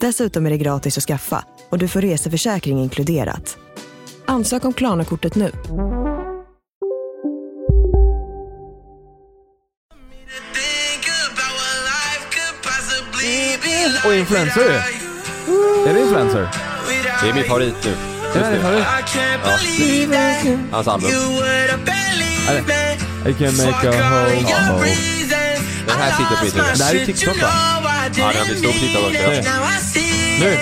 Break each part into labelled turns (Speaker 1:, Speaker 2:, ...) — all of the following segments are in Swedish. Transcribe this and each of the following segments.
Speaker 1: Dessutom är det gratis att skaffa och du får reseförsäkring inkluderat. Ansök om Klarna-kortet nu.
Speaker 2: Och influencer ju.
Speaker 3: Är det influencer?
Speaker 2: Det är min favorit nu.
Speaker 3: Just nu.
Speaker 2: Hans album.
Speaker 3: I can make a whole
Speaker 2: Ja.
Speaker 3: hole.
Speaker 2: Den här sitter på mitt huvud.
Speaker 3: Det här är TikTok va?
Speaker 2: Ja, den har blivit stor på TikTok också.
Speaker 3: Nej. Nu.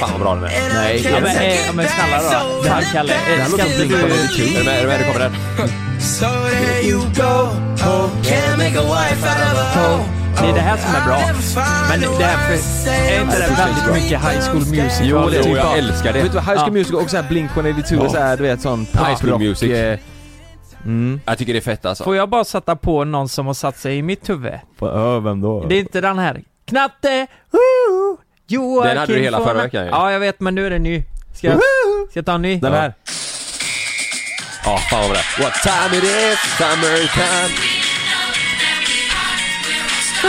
Speaker 2: Fan vad bra den är.
Speaker 3: Nej,
Speaker 2: Ja, men,
Speaker 4: eh, men snälla då. Det här, Kalle,
Speaker 3: Det här låter
Speaker 4: älskar
Speaker 3: som
Speaker 4: inte
Speaker 3: Blink-182.
Speaker 4: du...
Speaker 2: Är du med? Är du med? Nu kommer den.
Speaker 5: So there you go. Oh, can't make a wife out of a hoe. Oh,
Speaker 4: Det är det här som är bra. Men det här för, är inte det väldigt mycket High School Musical?
Speaker 2: Jo, det är
Speaker 4: typ
Speaker 2: jag
Speaker 4: av-
Speaker 2: älskar det.
Speaker 3: Vet du vad, High School
Speaker 4: Ja.
Speaker 3: Musical och så här Blink 182 och så här, du vet sån
Speaker 2: High School
Speaker 3: poprock...
Speaker 2: Music.
Speaker 3: eh, Mm.
Speaker 2: Jag tycker det är fett alltså.
Speaker 4: Får jag bara sätta på någon som har satt sig i mitt huvud?
Speaker 3: Ja, vem då?
Speaker 4: Det är inte den här. Knatte! Woo! Joakim
Speaker 2: Den hade du hela
Speaker 4: von-
Speaker 2: förra veckan ju.
Speaker 4: Ja, jag vet, men nu är den ny. Ska jag, ska jag ta en ny?
Speaker 3: Den här.
Speaker 2: Ja, fan vad bra. What time it is, summer time. Ja,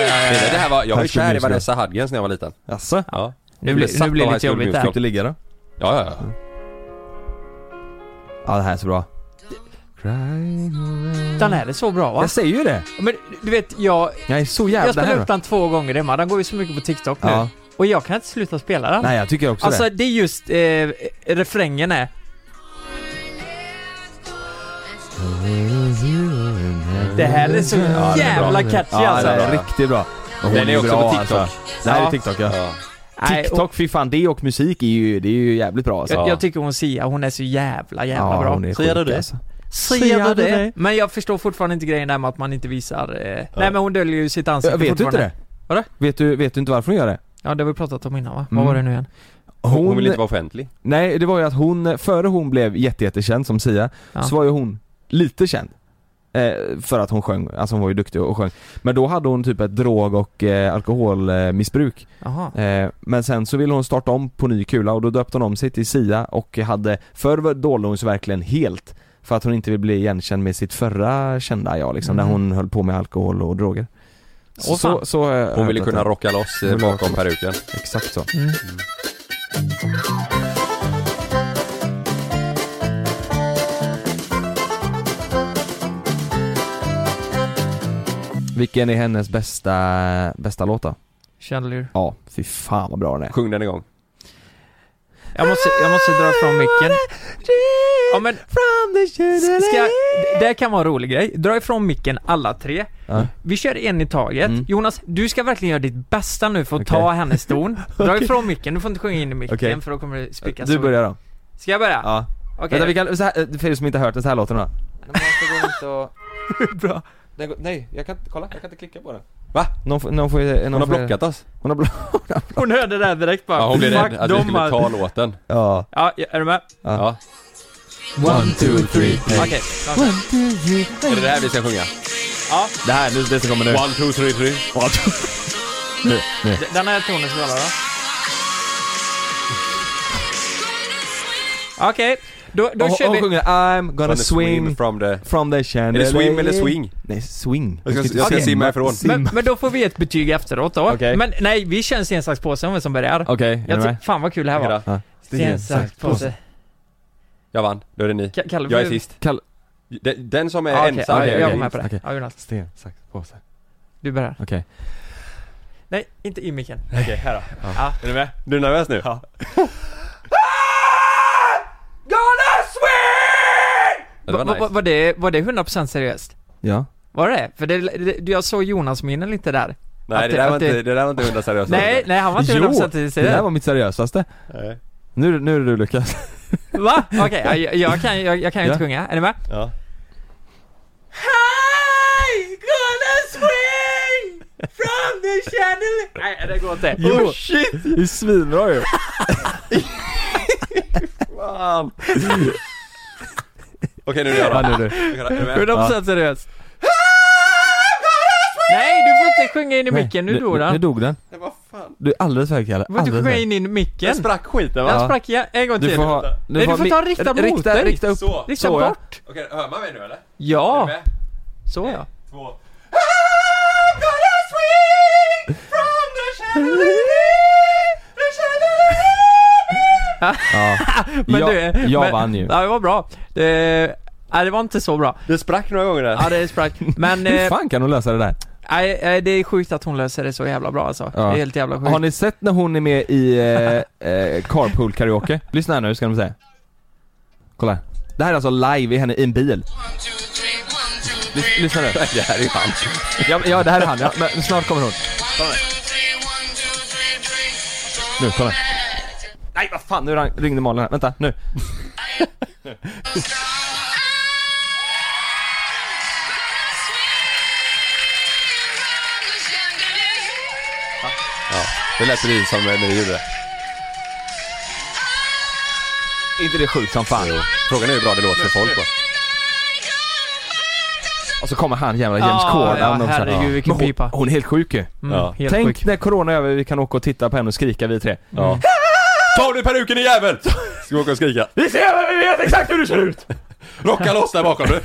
Speaker 2: ja, ja, ja. Det här var, jag var
Speaker 3: High School
Speaker 2: kär i
Speaker 3: Musical.
Speaker 2: Vanessa Hudgens när jag var liten.
Speaker 3: Jaså?
Speaker 2: Ja.
Speaker 4: Nu blir- nu blir det lite jobbigt här.
Speaker 3: Fick du ligga då?
Speaker 2: Ja, ja, ja.
Speaker 3: Ja, det här är så bra.
Speaker 4: Den här är så bra va?
Speaker 3: Jag säger ju det!
Speaker 4: Men du vet, jag,
Speaker 3: Jag är så
Speaker 4: jag
Speaker 3: jävla
Speaker 4: spelade upp
Speaker 3: här
Speaker 4: den två gånger Emma. Den går ju så mycket på TikTok nu.
Speaker 3: Ja.
Speaker 4: Och jag kan inte sluta spela den.
Speaker 3: Nej, jag tycker också
Speaker 4: alltså
Speaker 3: det.
Speaker 4: det är just eh, refrängen är... Det här är så
Speaker 3: det är bra.
Speaker 4: jävla catchy
Speaker 3: Ja,
Speaker 4: alltså.
Speaker 3: det är riktigt bra. Hon
Speaker 2: Den är också
Speaker 3: bra,
Speaker 2: på TikTok.
Speaker 3: Det här är
Speaker 4: Ja.
Speaker 3: TikTok ja.
Speaker 2: Ja.
Speaker 4: Nej, och,
Speaker 3: TikTok, fy fan, det och musik är ju, det är ju jävligt bra alltså.
Speaker 4: jag, jag tycker hon Sia, hon är så jävla jävla
Speaker 3: ja,
Speaker 4: bra.
Speaker 3: hon är
Speaker 2: Säger
Speaker 3: sjuk,
Speaker 2: du det?
Speaker 3: Alltså.
Speaker 4: Sia det. Men jag förstår fortfarande inte grejen där med att man inte visar... Eh, Nej men hon döljer ju sitt ansikte
Speaker 3: Jag vet du inte
Speaker 4: fortfarande.
Speaker 3: det?
Speaker 4: Vadå?
Speaker 3: Vet du, vet du inte varför hon gör det?
Speaker 4: Ja det har vi pratat om innan va?
Speaker 3: Mm.
Speaker 4: Vad var det nu igen?
Speaker 2: Hon, hon vill inte vara offentlig.
Speaker 3: Nej, det var ju att hon, före hon blev jätte, jättekänd som Sia,
Speaker 4: Ja.
Speaker 3: så var ju hon lite känd. Eh, för att hon sjöng, alltså hon var ju duktig och sjöng. Men då hade hon typ ett drog och eh, alkoholmissbruk.
Speaker 4: Jaha.
Speaker 3: Eh, men sen så ville hon starta om på ny kula och då döpte hon om sig till Sia och hade, förr var- dolde hon sig verkligen helt. För att hon inte ville bli igenkänd med sitt förra kända jag liksom,
Speaker 4: Mm.
Speaker 3: när hon höll på med alkohol och droger.
Speaker 4: Åh, fan.
Speaker 3: så, har jag
Speaker 2: Hon ville
Speaker 3: hört att
Speaker 2: kunna
Speaker 3: det-
Speaker 2: rocka loss
Speaker 3: Hon
Speaker 2: eh,
Speaker 3: ville
Speaker 2: bakom
Speaker 3: rocka loss.
Speaker 2: peruken.
Speaker 3: Exakt så.
Speaker 4: Mm.
Speaker 3: Vilken är hennes bästa, bästa låt då?
Speaker 4: Chandelier.
Speaker 3: Ja, fy fan vad bra den är.
Speaker 2: Sjung den igång.
Speaker 4: Jag måste, jag måste dra ifrån micken. Ja men, ska jag, det här kan vara en rolig grej. Dra ifrån micken alla tre.
Speaker 3: Ja.
Speaker 4: Vi kör en i taget.
Speaker 3: Mm.
Speaker 4: Jonas, du ska verkligen göra ditt bästa nu för att
Speaker 3: Okej.
Speaker 4: ta hennes ton. Dra
Speaker 3: Okej.
Speaker 4: ifrån micken, du får inte sjunga in i micken
Speaker 3: Okej.
Speaker 4: för då kommer det spricka
Speaker 3: Du
Speaker 4: så-
Speaker 3: börjar då.
Speaker 4: Ska jag börja?
Speaker 3: Ja.
Speaker 4: Okej.
Speaker 3: Vänta, vi kan, så här, för er som inte har hört den, så här låter den då.
Speaker 4: Bra.
Speaker 3: Den går, nej, jag kan inte, kolla, jag kan inte klicka på den.
Speaker 2: Va?
Speaker 3: Någon, får- någon får ju- någon
Speaker 2: Hon har
Speaker 3: får-
Speaker 2: blockat oss.
Speaker 3: Hon har blockat.
Speaker 4: Hon hörde det här direkt bara.
Speaker 2: Ja, hon blev
Speaker 4: Fuck
Speaker 2: rädd att vi
Speaker 4: dem,
Speaker 2: skulle
Speaker 4: alltså.
Speaker 2: ta låten.
Speaker 3: Ja.
Speaker 4: Ja, är du med?
Speaker 2: Ja.
Speaker 3: One, two, three.
Speaker 4: Okej.
Speaker 2: Är det det här vi ska sjunga?
Speaker 3: Det här, nu, det som kommer nu.
Speaker 2: One, two, three, three.
Speaker 4: D- Den här tonen spelar då. Okej, då, då
Speaker 3: Då
Speaker 4: kör
Speaker 3: hon
Speaker 4: vi.
Speaker 3: sjunger I'm gonna
Speaker 2: Gonna swim
Speaker 3: swing
Speaker 2: from the...
Speaker 3: from the
Speaker 2: Är det
Speaker 3: chandelier.
Speaker 2: swim eller swing?
Speaker 3: Nej, swing.
Speaker 2: Jag ska- jag ska simma ifrån.
Speaker 4: Men, men då får vi ett betyg efteråt då.
Speaker 3: Okej.
Speaker 4: Men nej, vi kör en sten, sax, påse om vem som börjar.
Speaker 3: Okej, är
Speaker 4: Jag
Speaker 3: du med?
Speaker 4: tyck, fan vad kul det här var.
Speaker 2: Hejdå.
Speaker 4: Sten, sax, påse.
Speaker 2: Jag vann. Då är det ni.
Speaker 4: Ka- Kalle,
Speaker 2: Jag är
Speaker 4: får-
Speaker 2: sist.
Speaker 3: Kalle-
Speaker 2: Den, den som är
Speaker 4: Ja, okej,
Speaker 2: ensam
Speaker 4: ja,
Speaker 2: är
Speaker 4: jag
Speaker 2: jag
Speaker 4: går med på det.
Speaker 3: Okej.
Speaker 4: Ja, Jonas,
Speaker 3: Sten, sax, påse.
Speaker 4: du börjar.
Speaker 3: Okej.
Speaker 4: Nej, inte i micken.
Speaker 2: Okej, här då. Är du med? Du är nervös nu? Ja. Gonna swing! Det var
Speaker 4: Va- va-
Speaker 2: nice.
Speaker 4: var, det, var det 100% seriöst?
Speaker 3: Ja.
Speaker 4: Var det det? För det, det, jag såg Jonas-minnen lite där.
Speaker 2: Nej
Speaker 4: Att
Speaker 2: det
Speaker 4: det-
Speaker 2: där var
Speaker 4: att det-
Speaker 2: inte, det där var inte hundra seriöst.
Speaker 4: Nej, nej han var inte 100%
Speaker 3: det där var
Speaker 4: seriös.
Speaker 3: mitt seriösaste.
Speaker 2: Nej.
Speaker 3: Nu, nu är det du Lukas.
Speaker 4: Va? Okej, jag, jag kan jag, jag kan ju
Speaker 3: Ja.
Speaker 4: inte sjunga. Är ni med?
Speaker 2: Ja.
Speaker 4: Hi! Gonna swing from the channel Nej, det går inte.
Speaker 3: Jo.
Speaker 4: Oh, shit!
Speaker 3: Det är svinbra ju. Fan.
Speaker 2: Okej nu är det jag
Speaker 3: Ja,
Speaker 2: då.
Speaker 3: nu är det.
Speaker 4: 100% seriös. Nej, du får inte sjunga in i micken. Nu dog
Speaker 3: Nu
Speaker 4: den.
Speaker 3: dog den.
Speaker 2: Vad fan?
Speaker 3: Du är alldeles för hög Kalle.
Speaker 4: Du får inte
Speaker 3: Alldeles för
Speaker 4: sjunga
Speaker 3: hög.
Speaker 4: in i micken.
Speaker 2: Jag sprack skiten
Speaker 4: Den
Speaker 2: va?
Speaker 4: sprack igen. En gång till.
Speaker 3: Du får ha...
Speaker 4: Nej, du får
Speaker 3: mi-
Speaker 4: ta rikta mot
Speaker 3: rikta,
Speaker 4: dig.
Speaker 3: Rikta upp.
Speaker 2: Så.
Speaker 4: Rikta
Speaker 3: Så, ja.
Speaker 4: bort.
Speaker 2: Okej, hör man mig nu eller? Är
Speaker 4: Ja,
Speaker 2: ni med?
Speaker 4: så ja.
Speaker 2: Två. I'm gonna swing from the chandelier, the chandelier.
Speaker 3: Ja.
Speaker 4: Men
Speaker 3: jag,
Speaker 4: du,
Speaker 3: jag
Speaker 4: men,
Speaker 3: vann ju.
Speaker 4: Ja, det var bra. Det, nej, det var inte så bra.
Speaker 2: Det sprack några gånger där.
Speaker 4: Ja, det sprack. Men
Speaker 3: Hur
Speaker 4: eh,
Speaker 3: fan kan hon lösa det där?
Speaker 4: nej, nej, det är sjukt att hon löser det så jävla bra alltså.
Speaker 3: Ja.
Speaker 4: Det är helt jävla sjukt.
Speaker 3: Har ni sett när hon är med i eh, eh, carpool karaoke? Lyssna här nu ska ni få se. Kolla här. Det här är alltså live i henne i en bil. Lys- lyssna nu.
Speaker 2: Det här är ju han.
Speaker 3: Ja, ja det här är han ja. Men snart kommer hon. Nu, kolla. Nej vad fan, nu rang- ringde Malin här. Vänta, nu.
Speaker 2: Det lät precis som när ni gjorde det.
Speaker 3: inte det sjukt som fan?
Speaker 2: Frågan är hur bra det låter för folk va?
Speaker 3: Och så kommer han jävla James
Speaker 4: Ja,
Speaker 3: Corden
Speaker 4: ja,
Speaker 3: också.
Speaker 4: herregud, vilken
Speaker 3: Men hon,
Speaker 4: pipa.
Speaker 3: Hon är helt sjuk ju.
Speaker 4: Mm,
Speaker 2: Ja.
Speaker 4: helt
Speaker 3: Tänk
Speaker 4: sjukt.
Speaker 3: när corona är över vi kan åka och titta på henne och skrika vi tre.
Speaker 2: Ja. Mm. Ta av dig peruken i jävel! Ska vi åka och skrika?
Speaker 3: Vi ser, vi vet exakt hur du ser ut!
Speaker 2: Rocka loss där bakom du!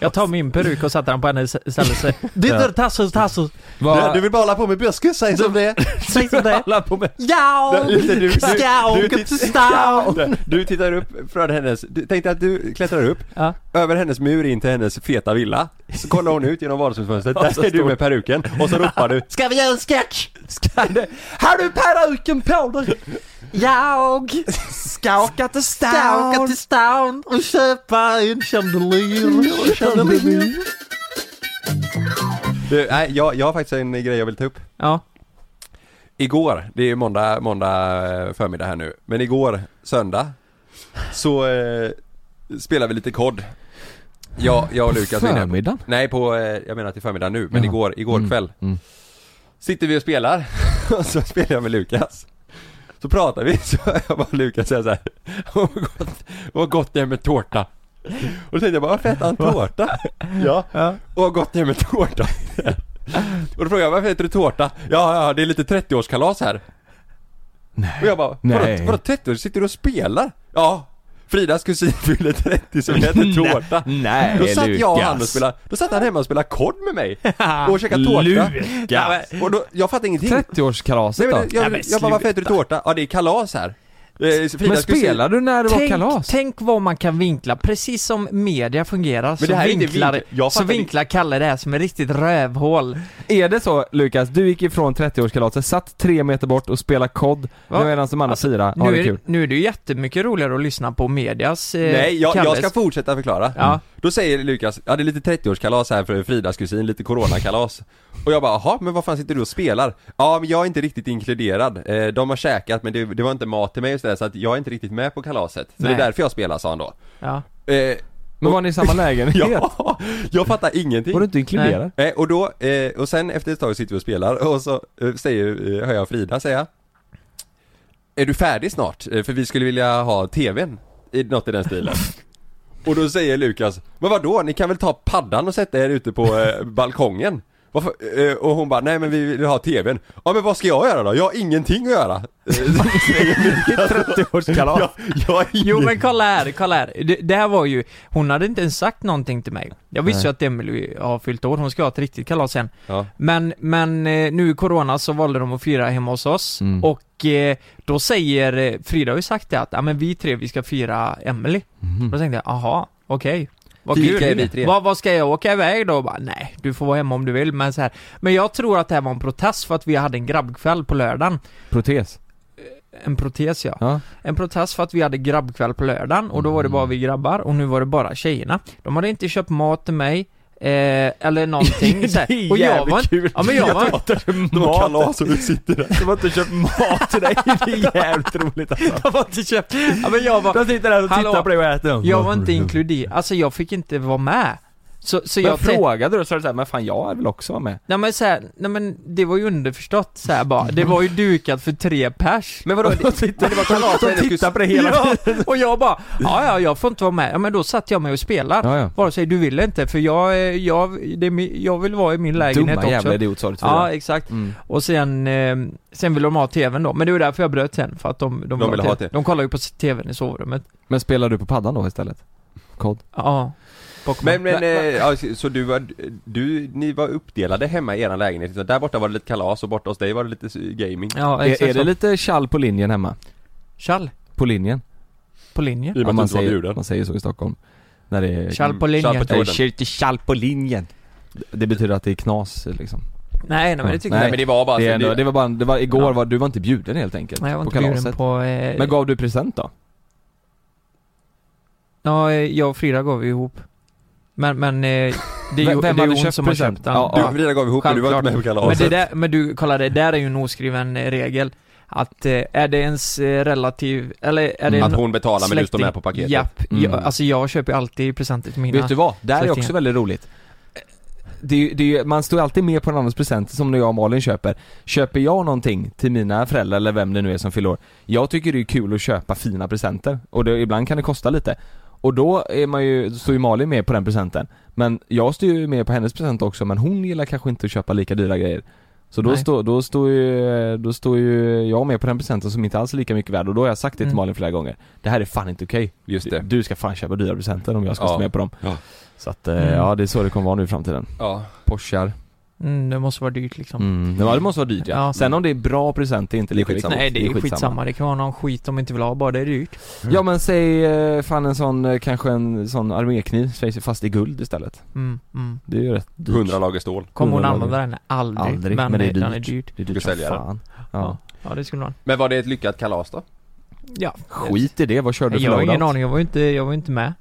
Speaker 4: Jag tar min peruk och sätter den på henne istället. Det är Tassos, Tassos.
Speaker 3: Vad...
Speaker 2: vill bara hålla på med buskis, säg som det är.
Speaker 4: Säg som det
Speaker 3: Alla på mig.
Speaker 4: Ja,
Speaker 2: Du- du- du-
Speaker 4: ska
Speaker 2: du-
Speaker 4: åka
Speaker 2: du-
Speaker 4: till stan.
Speaker 2: Du tittar upp från hennes, du tänkte att du klättrar upp,
Speaker 4: Ja.
Speaker 2: över hennes mur in till hennes feta villa. Så kollar hon ut genom vardagsrumsfönstret, där ser du med peruken och så ropar du
Speaker 4: Ska vi göra en sketch? Ska det? Har du peruken på dig? Jag ska åka till stan. Ska åka till stan och köpa en chandelier. chandelier.
Speaker 2: Du, nej, jag, jag har faktiskt en grej jag vill ta upp.
Speaker 4: Ja.
Speaker 2: Igår, det är ju måndag, måndag eh, förmiddag här nu, men igår söndag så eh, spelade vi lite kod. Jag, jag och Lukas min-
Speaker 3: Förmiddagen?
Speaker 2: Nej, på, eh, jag menar till förmiddag nu, men
Speaker 3: Jaha.
Speaker 2: igår, igår
Speaker 3: Mm,
Speaker 2: kväll.
Speaker 3: mm.
Speaker 2: Sitter vi och spelar, och så spelar jag med Lukas. Så pratar vi, så hör jag bara Lukas säga såhär, vad gott, vad gott det är med tårta. Och då tänkte jag bara, varför äter han tårta?
Speaker 3: Mm.
Speaker 2: ja. Och vad gott det är med tårta. och då frågade jag, varför äter du tårta? Ja, ja, det är lite 30-årskalas här. Nej. Och jag bara, vadå,
Speaker 3: Nej.
Speaker 2: vadå 30 år? Sitter du och spelar? Ja. Fridas kusin fyller 30 så vi äter tårta.
Speaker 3: Nej,
Speaker 2: Då satt jag och han och
Speaker 3: Lukas.
Speaker 2: spelade, då satt han hemma och spelade kod med mig och käkade tårta.
Speaker 3: Lukas.
Speaker 2: Och då, jag fattade ingenting.
Speaker 3: 30-årskalaset
Speaker 2: Nej, men,
Speaker 3: då?
Speaker 2: jag, jag, bara, varför äter du tårta? Ja det är kalas här. Eh, Fridas
Speaker 3: Men
Speaker 2: kusin-
Speaker 3: spelar du när det var
Speaker 4: Tänk,
Speaker 3: kalas?
Speaker 4: tänk vad man kan vinkla, precis som media fungerar så
Speaker 2: det här är inte
Speaker 4: vinklar,
Speaker 2: vinkel- jag
Speaker 4: så
Speaker 2: fattar
Speaker 4: vinklar Kalle det här som ett riktigt rövhål.
Speaker 3: Är det så Lukas, du gick ifrån 30-årskalaset, satt tre meter bort och spelade kod
Speaker 4: Va?
Speaker 3: medan de andra
Speaker 4: Alltså,
Speaker 3: fyra har
Speaker 4: Nu
Speaker 3: det
Speaker 4: är,
Speaker 3: kul?
Speaker 4: nu är det ju jättemycket roligare att lyssna på medias eh,
Speaker 2: Nej, jag, jag
Speaker 4: Kalles.
Speaker 2: ska fortsätta förklara.
Speaker 4: Ja.
Speaker 2: Då säger Lukas, ja det är lite 30-årskalas här för Fridas kusin, lite coronakalas. Och jag bara, jaha, men vad fan sitter du och spelar? Ja, men jag är inte riktigt inkluderad. Eh, De har käkat men det, det var inte mat till mig och sådär, så att jag är inte riktigt med på kalaset. Så
Speaker 4: Nej.
Speaker 2: det är därför jag spelar, sa han då.
Speaker 4: Ja.
Speaker 2: Eh,
Speaker 3: Men var ni i samma lägenhet?
Speaker 2: ja, jag fattar ingenting.
Speaker 3: Var du inte inkluderad?
Speaker 2: Eh, och då, eh, och sen efter ett tag sitter vi och spelar och så eh, säger, eh, hör jag Frida säga Är du färdig snart? Eh, för vi skulle vilja ha TVn, i, något i den stilen Och då säger Lukas, men vadå? Ni kan väl ta paddan och sätta er ute på eh, balkongen? Varför? Eh, och hon bara, nej men vi vill ha TVn Ja men vad ska jag göra då? Jag har ingenting att göra Eh, säger Lukas.
Speaker 3: 30-årskalas?
Speaker 2: jag, jag har
Speaker 4: Jo
Speaker 2: ingen-
Speaker 4: men kolla här, kolla här. Det, det här var ju, hon hade inte ens sagt någonting till mig. Jag visste ju att Emelie har fyllt år, hon ska ha ett riktigt kalas sen.
Speaker 2: Ja.
Speaker 4: Men, men eh, nu i Corona så valde de att fira hemma hos oss
Speaker 2: Mm.
Speaker 4: och eh, då säger, eh, Frida har ju sagt det att, ja men vi tre vi ska fira Emelie. Då tänkte jag, aha, okej. Vad
Speaker 2: Vilka är vi tre?
Speaker 4: kul. Vad, vad ska jag åka iväg då? Och Bara, nej, du får vara hemma om du vill, men så här. Men jag tror att det här var en protest för att vi hade en grabbkväll på lördagen.
Speaker 3: Protes?
Speaker 4: En protes ja.
Speaker 3: Ja.
Speaker 4: En protest för att vi hade Mm. grabbkväll på lördagen och då var det bara vi grabbar och nu var det bara tjejerna. De hade inte köpt mat till mig, Eh, eller någonting så här. Och jag var, ja, men jag var,
Speaker 2: De har kalas och du sitter där.
Speaker 3: De har inte köpt mat till dig, det är jävligt roligt alltså.
Speaker 4: jag var inte köpt, ja, men jag var,
Speaker 3: De sitter där och
Speaker 4: Hallå.
Speaker 3: tittar på dig och äter.
Speaker 4: jag var inte inkluderad, alltså jag fick inte vara med. Så, så
Speaker 3: Men
Speaker 4: jag tänkte,
Speaker 3: frågade du så sa du såhär, men fan jag vill också vara med.
Speaker 4: nej men så här, nej men det var ju underförstått så här bara, det var ju dukat för tre pers.
Speaker 2: Men vadå? Det, men det var kalas
Speaker 3: De tittar på dig hela
Speaker 4: ja, och jag bara, ja ja jag får inte vara med. Ja men då satt jag med och spelade.
Speaker 3: Ja, ja.
Speaker 4: Vare sig du vill inte för jag, eh, jag, det är, min- jag vill vara i min lägenhet
Speaker 3: Dumma
Speaker 4: också.
Speaker 3: jävla idiot sa du till
Speaker 4: Ja
Speaker 3: mig.
Speaker 4: exakt.
Speaker 3: Mm.
Speaker 4: Och sen, eh, sen ville de ha tvn då, men det var därför jag bröt sen för att de, de,
Speaker 2: ville ha
Speaker 4: TV.
Speaker 2: TV.
Speaker 4: De kollar ju på tvn i sovrummet.
Speaker 3: Men spelar du på paddan då istället? Kod?
Speaker 4: Ja. Pokémon.
Speaker 2: Men, men, eh,
Speaker 4: Nej,
Speaker 2: ja, så du var, du, ni var uppdelade hemma i eran lägenhet, så där borta var det lite kalas och borta hos dig var det lite s- gaming.
Speaker 4: ja,
Speaker 3: Är,
Speaker 4: exakt
Speaker 3: är det
Speaker 4: så.
Speaker 3: lite tjall på linjen hemma?
Speaker 4: Tjall
Speaker 3: På linjen?
Speaker 4: på linjen.
Speaker 2: I och med att du
Speaker 3: man,
Speaker 2: inte var
Speaker 3: säger,
Speaker 2: bjuden.
Speaker 3: man säger så i Stockholm. När det är...
Speaker 4: Tjall på linjen.
Speaker 2: tjall på
Speaker 3: Nej,
Speaker 2: tråden.
Speaker 3: kör inte tjall på linjen. Det betyder att det är knas liksom.
Speaker 4: Nej, nej men det tycker
Speaker 2: Nej
Speaker 4: jag
Speaker 2: men det var bara,
Speaker 3: det, är
Speaker 2: så
Speaker 3: ändå, det var bara, det var, igår
Speaker 4: alltså, Ja.
Speaker 3: var, du var inte bjuden helt enkelt.
Speaker 4: Nej jag var
Speaker 3: på
Speaker 4: inte bjuden
Speaker 3: kalaset.
Speaker 4: på... Eh,
Speaker 3: Men gav du present då?
Speaker 4: ja, eh, jag och Frida gav vi ihop. Men, men eh, det är ju,
Speaker 3: Vem- vem
Speaker 4: det är ju
Speaker 3: hade
Speaker 4: hon
Speaker 3: köpt
Speaker 4: som har
Speaker 3: present?
Speaker 4: köpt den.
Speaker 3: Ja,
Speaker 2: Du och Frida gav ihop men du var inte med på
Speaker 4: Men,
Speaker 2: kalaset.
Speaker 4: det där, men du, kolla det där är ju en oskriven eh, regel. Att eh, är det ens eh, relativ, eller är det
Speaker 3: Mm.
Speaker 4: en
Speaker 2: Att hon betalar men du står
Speaker 4: släkting-
Speaker 2: med på paketet.
Speaker 4: Japp,
Speaker 3: Mm.
Speaker 4: jag, alltså jag köper ju alltid presenter till mina.
Speaker 3: Vet du vad? Det här är
Speaker 4: släktingar.
Speaker 3: också väldigt roligt. Det är, ju- det är, ju- man står ju alltid med på någon annans present, som när jag och Malin köper. Köper jag någonting till mina föräldrar eller vem det nu är som fyller år, jag tycker det är kul att köpa fina presenter. Och det, ibland kan det kosta lite. Och då är man ju, står ju Malin med på den presenten. Men jag står ju med på hennes present också, men hon gillar kanske inte att köpa lika dyra grejer. Så då,
Speaker 4: Nej.
Speaker 3: står då, står ju, då står ju jag med på den presenten som inte alls är lika mycket värd och då har jag sagt det till
Speaker 4: Mm.
Speaker 3: Malin flera gånger. Det här är fan inte okej.
Speaker 2: Just det.
Speaker 3: Du ska fan köpa dyra presenter om jag ska
Speaker 2: Ja.
Speaker 3: stå med på dem.
Speaker 2: Ja.
Speaker 3: Så att, eh,
Speaker 4: Mm.
Speaker 3: ja det är så det kommer vara nu i framtiden.
Speaker 2: Ja.
Speaker 3: Porschar.
Speaker 4: Mm, det måste vara dyrt liksom.
Speaker 3: Mm. Ja, det måste vara dyrt ja.
Speaker 4: Ja.
Speaker 3: Sen om det är bra presenter är inte
Speaker 2: Det är
Speaker 3: lika
Speaker 2: skitsamma.
Speaker 3: viktigt.
Speaker 4: Nej det är ju skitsamma, det kan vara någon skit de inte vill ha bara, det är dyrt.
Speaker 3: Ja men säg eh, fan en sån, eh, kanske en sån armékniv, säg fast i guld istället.
Speaker 4: Mm, mm.
Speaker 3: Det är ju rätt dyrt.
Speaker 2: 100 lager stål.
Speaker 4: Kommer hon
Speaker 3: Hundra
Speaker 4: använda den? Aldrig.
Speaker 3: Aldrig, men det är
Speaker 4: den
Speaker 3: dyrt.
Speaker 4: är dyrt.
Speaker 3: Det är
Speaker 2: Du
Speaker 3: dyrt som
Speaker 2: säljer den.
Speaker 3: fan. Ja.
Speaker 4: Ja det skulle man.
Speaker 2: Men var det ett lyckat kalas då?
Speaker 4: Ja.
Speaker 3: Skit i det, vad körde du för
Speaker 4: Jag har ingen
Speaker 3: låda?
Speaker 4: aning, jag var ju inte, jag var ju inte med.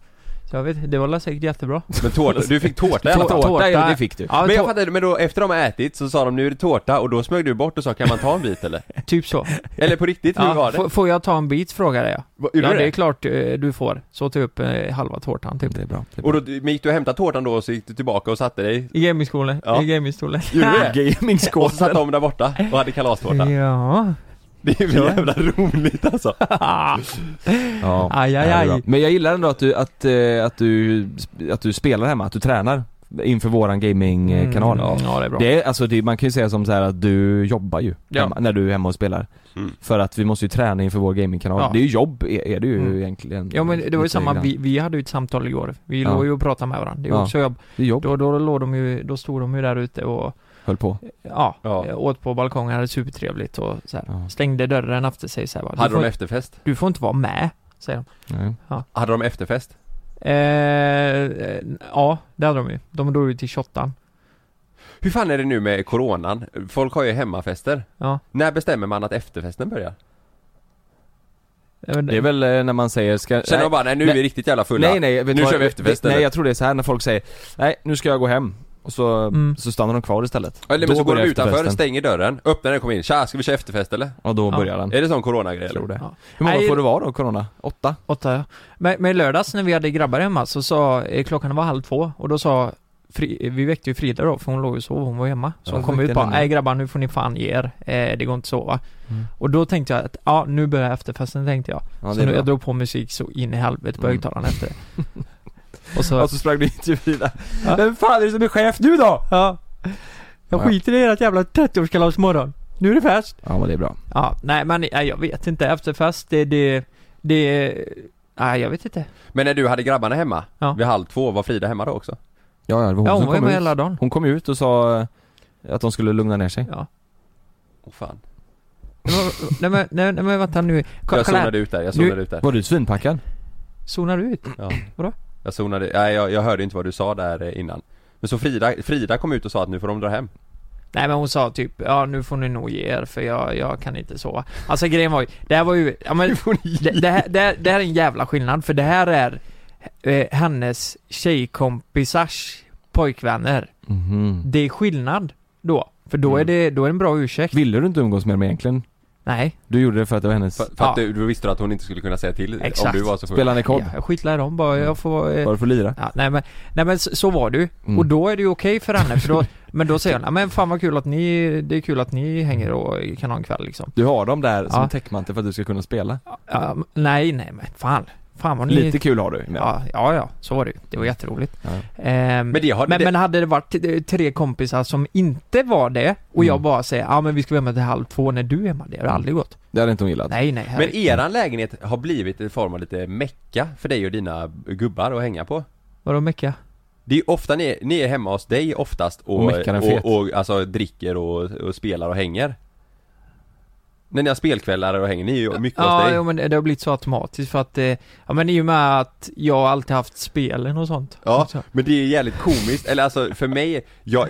Speaker 4: Så jag vet det var säkert jättebra.
Speaker 2: Men tårta, du fick tårta i alla fall.
Speaker 4: Tårta.
Speaker 3: Tårta, ja, det fick du.
Speaker 4: Ja,
Speaker 2: Men jag
Speaker 4: to-
Speaker 2: fattar inte, men då efter de har ätit så sa de nu är det tårta och då smög du bort och sa kan man ta en bit eller?
Speaker 4: typ så.
Speaker 2: Eller på riktigt, hur
Speaker 4: Ja,
Speaker 2: var det?
Speaker 4: får- får jag ta en bit frågade jag.
Speaker 2: Va- gjorde
Speaker 4: Ja
Speaker 2: du
Speaker 4: det är klart eh, du får. Så tog jag upp eh, halva tårtan typ.
Speaker 3: Det är bra. Det är
Speaker 2: Och
Speaker 3: bra.
Speaker 2: då men gick du och hämtade tårtan då och så gick du tillbaka och satte dig?
Speaker 4: I gamingskolan,
Speaker 2: Ja.
Speaker 4: i gamingstolen.
Speaker 2: Gjorde du det?
Speaker 3: Gamingskål.
Speaker 2: Och så satt de där borta och hade kalastårta.
Speaker 4: Ja.
Speaker 2: Det är ju jävla roligt alltså.
Speaker 3: Ja.
Speaker 4: Aj, aj,
Speaker 3: Ja, det är
Speaker 4: aj.
Speaker 3: bra. Men jag gillar ändå att du, att, eh, att du, att du spelar hemma, att du tränar inför våran gamingkanal.
Speaker 4: Mm, ja det är bra.
Speaker 3: Det är, alltså det, man kan ju säga som så här att du jobbar ju
Speaker 4: Ja.
Speaker 3: hemma, när du är hemma och spelar.
Speaker 2: Mm.
Speaker 3: För att vi måste ju träna inför vår gamingkanal.
Speaker 4: Ja.
Speaker 3: Det är ju jobb, e, är, är det ju
Speaker 4: Mm.
Speaker 3: egentligen.
Speaker 4: Ja men det var ju
Speaker 3: Lite
Speaker 4: samma,
Speaker 3: grann.
Speaker 4: vi, vi hade ju ett samtal igår. Vi
Speaker 3: Ja.
Speaker 4: låg ju och pratade med varandra. Det är
Speaker 3: Ja.
Speaker 4: också jobb.
Speaker 3: Det är jobb,
Speaker 4: Då, då låg de ju, då stod de ju där ute och,
Speaker 3: höll på.
Speaker 4: ja,
Speaker 2: Ja.
Speaker 4: eh, åt på balkongen, hade supertrevligt och så här.
Speaker 3: Ja.
Speaker 4: Stängde dörren efter sig så här, bara, du,
Speaker 2: Hade
Speaker 4: får,
Speaker 2: de efterfest?
Speaker 4: du får inte vara med, säger de.
Speaker 3: Nej.
Speaker 2: Hade de efterfest?
Speaker 4: Eh, eh, ja, det hade de ju. De drog ju till shottan.
Speaker 2: Hur fan är det nu med coronan? Folk har ju hemmafester.
Speaker 4: Ja.
Speaker 2: När bestämmer man att efterfesten börjar?
Speaker 4: Eh, men-
Speaker 3: Det är väl eh, när man säger, ska,
Speaker 2: Känner de bara, nej nu är vi riktigt jävla fulla.
Speaker 3: nej, nej, vet
Speaker 2: nu
Speaker 3: du vad?
Speaker 2: kör vi efterfest
Speaker 3: Nej
Speaker 2: eller?
Speaker 3: jag tror det är så här när folk säger, nej nu ska jag gå hem. Och så,
Speaker 4: Mm.
Speaker 3: så stannar de kvar istället.
Speaker 2: Eller
Speaker 3: Då
Speaker 2: men så går de
Speaker 3: börjar
Speaker 2: utanför,
Speaker 3: efterfesten.
Speaker 2: stänger dörren, öppnar den och kommer in. Tja, ska vi köra efterfest eller?
Speaker 3: Ja då
Speaker 4: Ja.
Speaker 3: börjar den.
Speaker 2: Är det sån coronagrej
Speaker 3: Jag tror
Speaker 2: eller?
Speaker 3: det.
Speaker 4: Ja.
Speaker 3: Hur många
Speaker 4: Nej.
Speaker 3: får det vara då, corona? Åtta?
Speaker 4: Åtta ja. Men, men i lördags när vi hade grabbar hemma så sa, eh, klockan var halv två och då sa Fri, eh, vi väckte ju Frida då för hon låg och sov, hon var hemma. Så
Speaker 3: Ja,
Speaker 4: hon kom ut
Speaker 3: vilken
Speaker 4: bara,
Speaker 3: ändå.
Speaker 4: nej grabbar nu får ni fan ge er, eh, det går inte att sova.
Speaker 3: Mm.
Speaker 4: Och då tänkte jag att, ja nu börjar efterfesten tänkte jag.
Speaker 3: Ja,
Speaker 4: så
Speaker 3: är
Speaker 4: nu,
Speaker 3: bra.
Speaker 4: jag drog på musik så in i helvete på
Speaker 3: Mm.
Speaker 4: högtalaren efter det. Och så,
Speaker 3: Och så sprang du in till Frida.
Speaker 4: Ja.
Speaker 3: Vem fan är det som är chef nu då?
Speaker 4: ja.
Speaker 3: Ja.
Speaker 4: Jag skiter i ert jävla 30-årskalas imorgon. Nu är det fest.
Speaker 3: Ja men det är bra.
Speaker 4: Ja, nej men nej, jag vet inte, efterfest det, det, det, nej jag vet inte.
Speaker 2: Men när du hade grabbarna hemma,
Speaker 4: Ja.
Speaker 2: vid halv två, var Frida hemma då också?
Speaker 3: Ja, ja, det var hon,
Speaker 4: Ja hon
Speaker 3: som
Speaker 4: var ju
Speaker 3: kom
Speaker 4: med
Speaker 3: ut.
Speaker 4: hela dagen.
Speaker 3: Hon kom ju ut och sa eh, att de skulle lugna ner sig.
Speaker 4: Ja.
Speaker 2: Åh fan.
Speaker 4: Det var- Nej men, nej, nej men vänta nu. Ko-
Speaker 2: Jag
Speaker 4: kolla här.
Speaker 2: zonade ut där, jag zonade
Speaker 4: Nu-
Speaker 2: ut där.
Speaker 3: Var du svinpackad?
Speaker 4: Zonar du ut?
Speaker 2: Ja.
Speaker 4: Vadå?
Speaker 2: Jag zonade, nej jag, jag hörde inte vad du sa där eh, innan. Men så Frida, Frida kom ut och sa att nu får de dra hem.
Speaker 4: Nej men hon sa typ, ja nu får ni nog ge er för jag, jag kan inte sova. Alltså grejen var ju, det här var ju, ja men det, det, här, det, här, det här är en jävla skillnad för det här är eh, hennes tjejkompisars pojkvänner.
Speaker 3: Mhm.
Speaker 4: Det är skillnad då. För då är
Speaker 3: Mm.
Speaker 4: det, då är det en bra ursäkt.
Speaker 3: Ville du inte umgås med dem egentligen?
Speaker 4: Nej,
Speaker 3: Du gjorde det för att det var hennes...
Speaker 2: För, för att
Speaker 4: Ja.
Speaker 2: du, du visste att hon inte skulle kunna säga till
Speaker 4: Exakt.
Speaker 2: om du var så full.
Speaker 3: Spelade ni kod?
Speaker 4: jag skitlar i dem bara. Jag får... eh,
Speaker 3: Var det för att lira?
Speaker 4: Ja, nej men, nej men så, så var du.
Speaker 3: Mm.
Speaker 4: Och då är det ju okej för henne. För då, men då säger hon, "Ja, men fan vad kul att ni, det är kul att ni hänger och kan ha en kväll liksom.
Speaker 3: Du har dem där som
Speaker 4: Ja.
Speaker 3: täckmantel för att du ska kunna spela.
Speaker 4: Ja, men- nej, nej men fan. Fan vad ni...
Speaker 3: Lite kul har du. Ja.
Speaker 4: Ja, ja, ja, så var det ju. Det var jätteroligt.
Speaker 3: Ja.
Speaker 4: Ehm,
Speaker 2: Men det har-
Speaker 4: men,
Speaker 2: det-
Speaker 4: men hade det varit eh, tre kompisar som inte var det och jag
Speaker 3: Mm.
Speaker 4: bara säger ja men vi ska vara hemma till halv två när du är hemma, det har aldrig gått.
Speaker 3: Det hade inte hon gillat.
Speaker 4: Nej, nej.
Speaker 2: Men
Speaker 4: herregud.
Speaker 2: eran lägenhet har blivit en form av lite mecka för dig och dina gubbar att hänga på.
Speaker 4: Vadå mecka?
Speaker 2: Det är ofta ni, ni är hemma hos dig oftast och,
Speaker 3: Och meckar en fet.
Speaker 2: och, och alltså dricker och, och spelar och hänger. När ni har spelkvällar och hänger, ni är ju mycket hos
Speaker 4: Ja,
Speaker 2: dig.
Speaker 4: jo, men det det har blivit så automatiskt för att, eh, ja men i och med att jag alltid haft spelen och sånt.
Speaker 2: Ja,
Speaker 4: Så-
Speaker 2: men det är jävligt komiskt, eller alltså för mig, jag,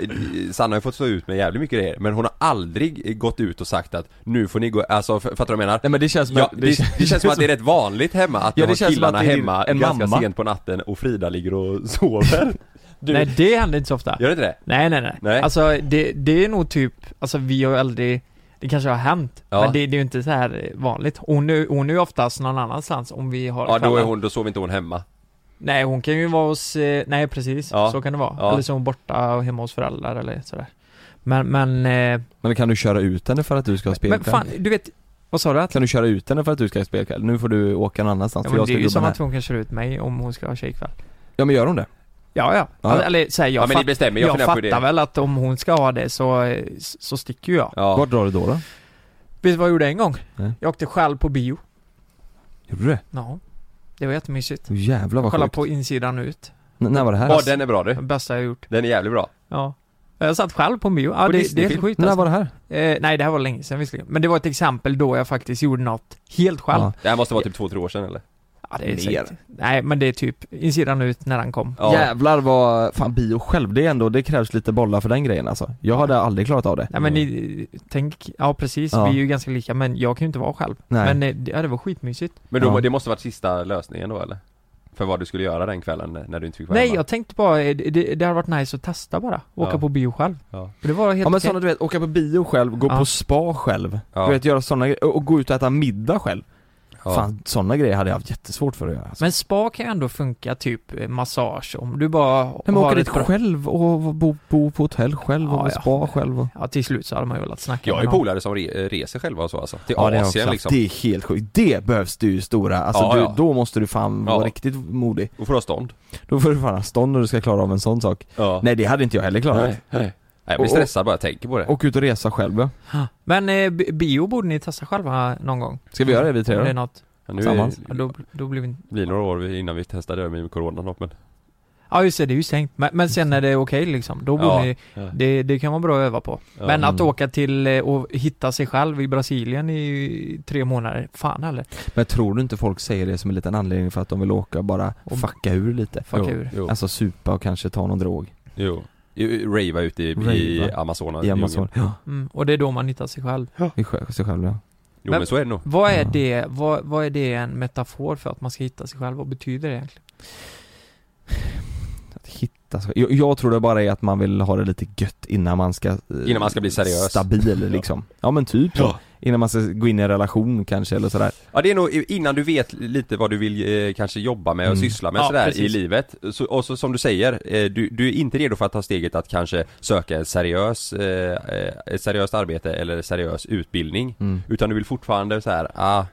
Speaker 2: Sanna har ju fått stå ut med jävligt mycket grejer, men hon har aldrig gått ut och sagt att nu får ni gå, alltså f- fattar du vad jag menar?
Speaker 3: Nej men det känns som
Speaker 2: Ja,
Speaker 3: att...
Speaker 2: det, det, känns som att det är rätt vanligt hemma att
Speaker 3: Ja,
Speaker 2: ja,
Speaker 3: det
Speaker 2: har
Speaker 3: känns som
Speaker 2: killarna
Speaker 3: att det är
Speaker 2: hemma
Speaker 3: en
Speaker 2: ganska
Speaker 3: mamma.
Speaker 2: sent på natten och Frida ligger och sover. Du,
Speaker 4: Nej, det händer inte så ofta.
Speaker 2: Gör det inte det?
Speaker 4: Nej, nej, nej.
Speaker 2: Nej.
Speaker 4: Alltså det, det är nog typ, alltså vi har ju aldrig, det kanske har hänt,
Speaker 2: Ja.
Speaker 4: men det, det är ju inte så här eh, vanligt. Hon är, hon är ju oftast någon annanstans om vi har
Speaker 2: Ja, då, är
Speaker 4: kvällar.
Speaker 2: hon, då sover inte hon hemma.
Speaker 4: Nej, hon kan ju vara hos, eh, nej precis,
Speaker 2: Ja.
Speaker 4: så kan det vara.
Speaker 2: Ja.
Speaker 4: Eller så är hon borta och hemma hos föräldrar eller sådär. Men, men, eh,
Speaker 3: Men kan du köra ut henne för att du ska ha
Speaker 4: men
Speaker 3: spelkväll?
Speaker 4: fan, du vet, vad sa du? Att,
Speaker 3: Kan du köra ut henne för att du ska ha spelkväll? Nu får du åka någon annanstans
Speaker 4: ja,
Speaker 3: för
Speaker 4: men
Speaker 3: jag
Speaker 4: det
Speaker 3: ska
Speaker 4: är ju
Speaker 3: gubben
Speaker 4: som
Speaker 3: här.
Speaker 4: att hon kan köra ut mig om hon ska ha tjejkväll.
Speaker 3: Ja men gör hon det?
Speaker 4: Ja, ja.
Speaker 3: Ja.
Speaker 4: Alltså, eller så här, jag,
Speaker 2: Ja, men ni
Speaker 4: fatt-
Speaker 2: bestämmer, jag
Speaker 4: jag,
Speaker 2: funderar på
Speaker 4: fattar
Speaker 2: det.
Speaker 4: väl att om hon ska ha det så, eh, s- så sticker ju jag.
Speaker 2: Ja.
Speaker 3: Vart drar du då då?
Speaker 4: Vet du vad jag gjorde en gång?
Speaker 3: Nej.
Speaker 4: Jag åkte själv på bio.
Speaker 3: Gjorde du det?
Speaker 4: Ja. Det var jättemysigt.
Speaker 3: Oh, jävlar vad
Speaker 4: Kolla
Speaker 3: sjukt.
Speaker 4: på insidan ut.
Speaker 3: N- När var det här?
Speaker 2: Ja, den är bra du.
Speaker 4: Det bästa jag gjort.
Speaker 2: Den är jävligt bra.
Speaker 4: Eh. Ja. Jag satt själv på en bio. Ja,
Speaker 2: På
Speaker 4: det, det är
Speaker 2: Disneyfilm?
Speaker 4: helt sjukt
Speaker 3: När var
Speaker 4: alltså.
Speaker 3: det här?
Speaker 4: eh, Nej, det här var länge sedan visserligen. Men det var ett exempel då jag faktiskt gjorde något helt själv.
Speaker 3: Ja.
Speaker 4: Ja,
Speaker 2: Det här måste vara typ två, tre år sedan eller?
Speaker 4: det är
Speaker 3: Mer.
Speaker 4: säkert. Nej, men det är typ insidan ut när den kom.
Speaker 2: Ja.
Speaker 3: Jävlar vad, fan bio själv, det är ändå, det krävs lite bollar för den grejen alltså. Jag hade aldrig klarat av det.
Speaker 4: Nej men ni, tänk, ja precis,
Speaker 3: Mm. Ja.
Speaker 4: vi är ju ganska lika men jag kan ju inte vara själv.
Speaker 3: Nej.
Speaker 4: Men eh, det- ja, det var skitmysigt.
Speaker 2: Men då,
Speaker 3: Ja.
Speaker 2: det måste varit sista lösningen då eller? För vad du skulle göra den kvällen när du inte fick vara
Speaker 4: Nej,
Speaker 2: hemma?
Speaker 4: jag tänkte bara, eh, det, det hade varit nice att testa bara. Åka
Speaker 2: Ja.
Speaker 4: på bio själv.
Speaker 2: Ja.
Speaker 4: För det var helt
Speaker 3: Ja men
Speaker 4: okej.
Speaker 3: sådana du vet, åka på bio själv, gå
Speaker 4: Ja.
Speaker 3: på spa själv,
Speaker 2: Ja.
Speaker 3: du vet göra sådana grejer, och och gå ut och äta middag själv.
Speaker 2: Ja.
Speaker 3: Fan sådana grejer hade jag haft jättesvårt för att göra. Alltså.
Speaker 4: Men spa kan ju ändå funka typ eh, massage om du bara Nej,
Speaker 3: Men, men åka dit själv och bo, bo på hotell själv och
Speaker 4: Ja,
Speaker 3: på
Speaker 4: ja.
Speaker 3: spa själv och...
Speaker 4: Ja till slut så hade man ju velat snacka
Speaker 2: Jag
Speaker 4: med
Speaker 2: är
Speaker 4: någon.
Speaker 2: polare som re, reser själva och så alltså. Till
Speaker 3: har jag också
Speaker 2: Asien
Speaker 3: haft.
Speaker 2: liksom.
Speaker 3: Det är helt sjukt. Det behövs du ju stora, alltså
Speaker 2: Ja,
Speaker 3: du,
Speaker 2: ja.
Speaker 3: då måste du fan vara
Speaker 2: Ja.
Speaker 3: riktigt modig.
Speaker 2: Och får ha stånd.
Speaker 3: Då får du fan ha stånd när du ska klara av en sån sak.
Speaker 2: Ja.
Speaker 3: Nej det hade inte jag heller klarat.
Speaker 2: Nej, nej. Nej, jag blir
Speaker 3: Och- och-
Speaker 2: stressad bara jag tänker på det.
Speaker 3: Åk ut och resa själv ja.
Speaker 4: Men eh, bi- bio borde ni testa själva någon gång?
Speaker 3: Ska vi göra det vi tre
Speaker 4: Om
Speaker 3: då?
Speaker 4: det är något,
Speaker 2: Ja, nu
Speaker 3: Tillsammans.
Speaker 4: ja, då, då blir vi inte...
Speaker 2: blir det några år innan vi testar det med coronan då, men...
Speaker 4: Ja just det, det är ju stängt. Men, men sen när det är okej liksom, då borde
Speaker 2: Ja.
Speaker 4: ni...
Speaker 2: Ja.
Speaker 4: Det, det kan vara bra att öva på.
Speaker 2: Ja.
Speaker 4: men att
Speaker 3: Mm.
Speaker 4: åka till eh, och hitta sig själv i Brasilien i tre månader, fan heller.
Speaker 3: Men tror du inte folk säger det som en liten anledning för att de vill åka och bara
Speaker 4: Och-
Speaker 3: fucka ur lite?
Speaker 4: Fucka ur.
Speaker 2: Jo,
Speaker 3: Alltså supa och kanske ta någon drog
Speaker 2: jo. jo. Rava ute i, i
Speaker 3: Rava.
Speaker 2: Amazonas.
Speaker 3: i Amazon. Ja,
Speaker 4: Mm, och det är då man hittar sig själv.
Speaker 3: i sjö- sig själv ja.
Speaker 2: Jo men så är det nog.
Speaker 4: Vad är
Speaker 3: Ja.
Speaker 4: det, vad, vad är det en metafor för att man ska hitta sig själv? Vad betyder det egentligen?
Speaker 3: Att hitta sig jag, jag tror det bara är att man vill ha det lite gött innan man ska... eh,
Speaker 2: Innan man ska bli seriös.
Speaker 3: Stabil liksom. ja. men typ så.
Speaker 2: Ja.
Speaker 3: Innan man ska gå in i en relation kanske eller sådär.
Speaker 2: Ja det är nog innan du vet lite vad du vill eh, kanske jobba med och
Speaker 3: Mm.
Speaker 2: syssla med
Speaker 4: Ja,
Speaker 2: sådär i
Speaker 4: precis.
Speaker 2: livet. Så, och så som du säger, eh, du, du är inte redo för att ta steget att kanske söka en seriös, eh, eh, ett seriöst arbete eller seriös utbildning.
Speaker 3: Mm.
Speaker 2: Utan du vill fortfarande så här, ah,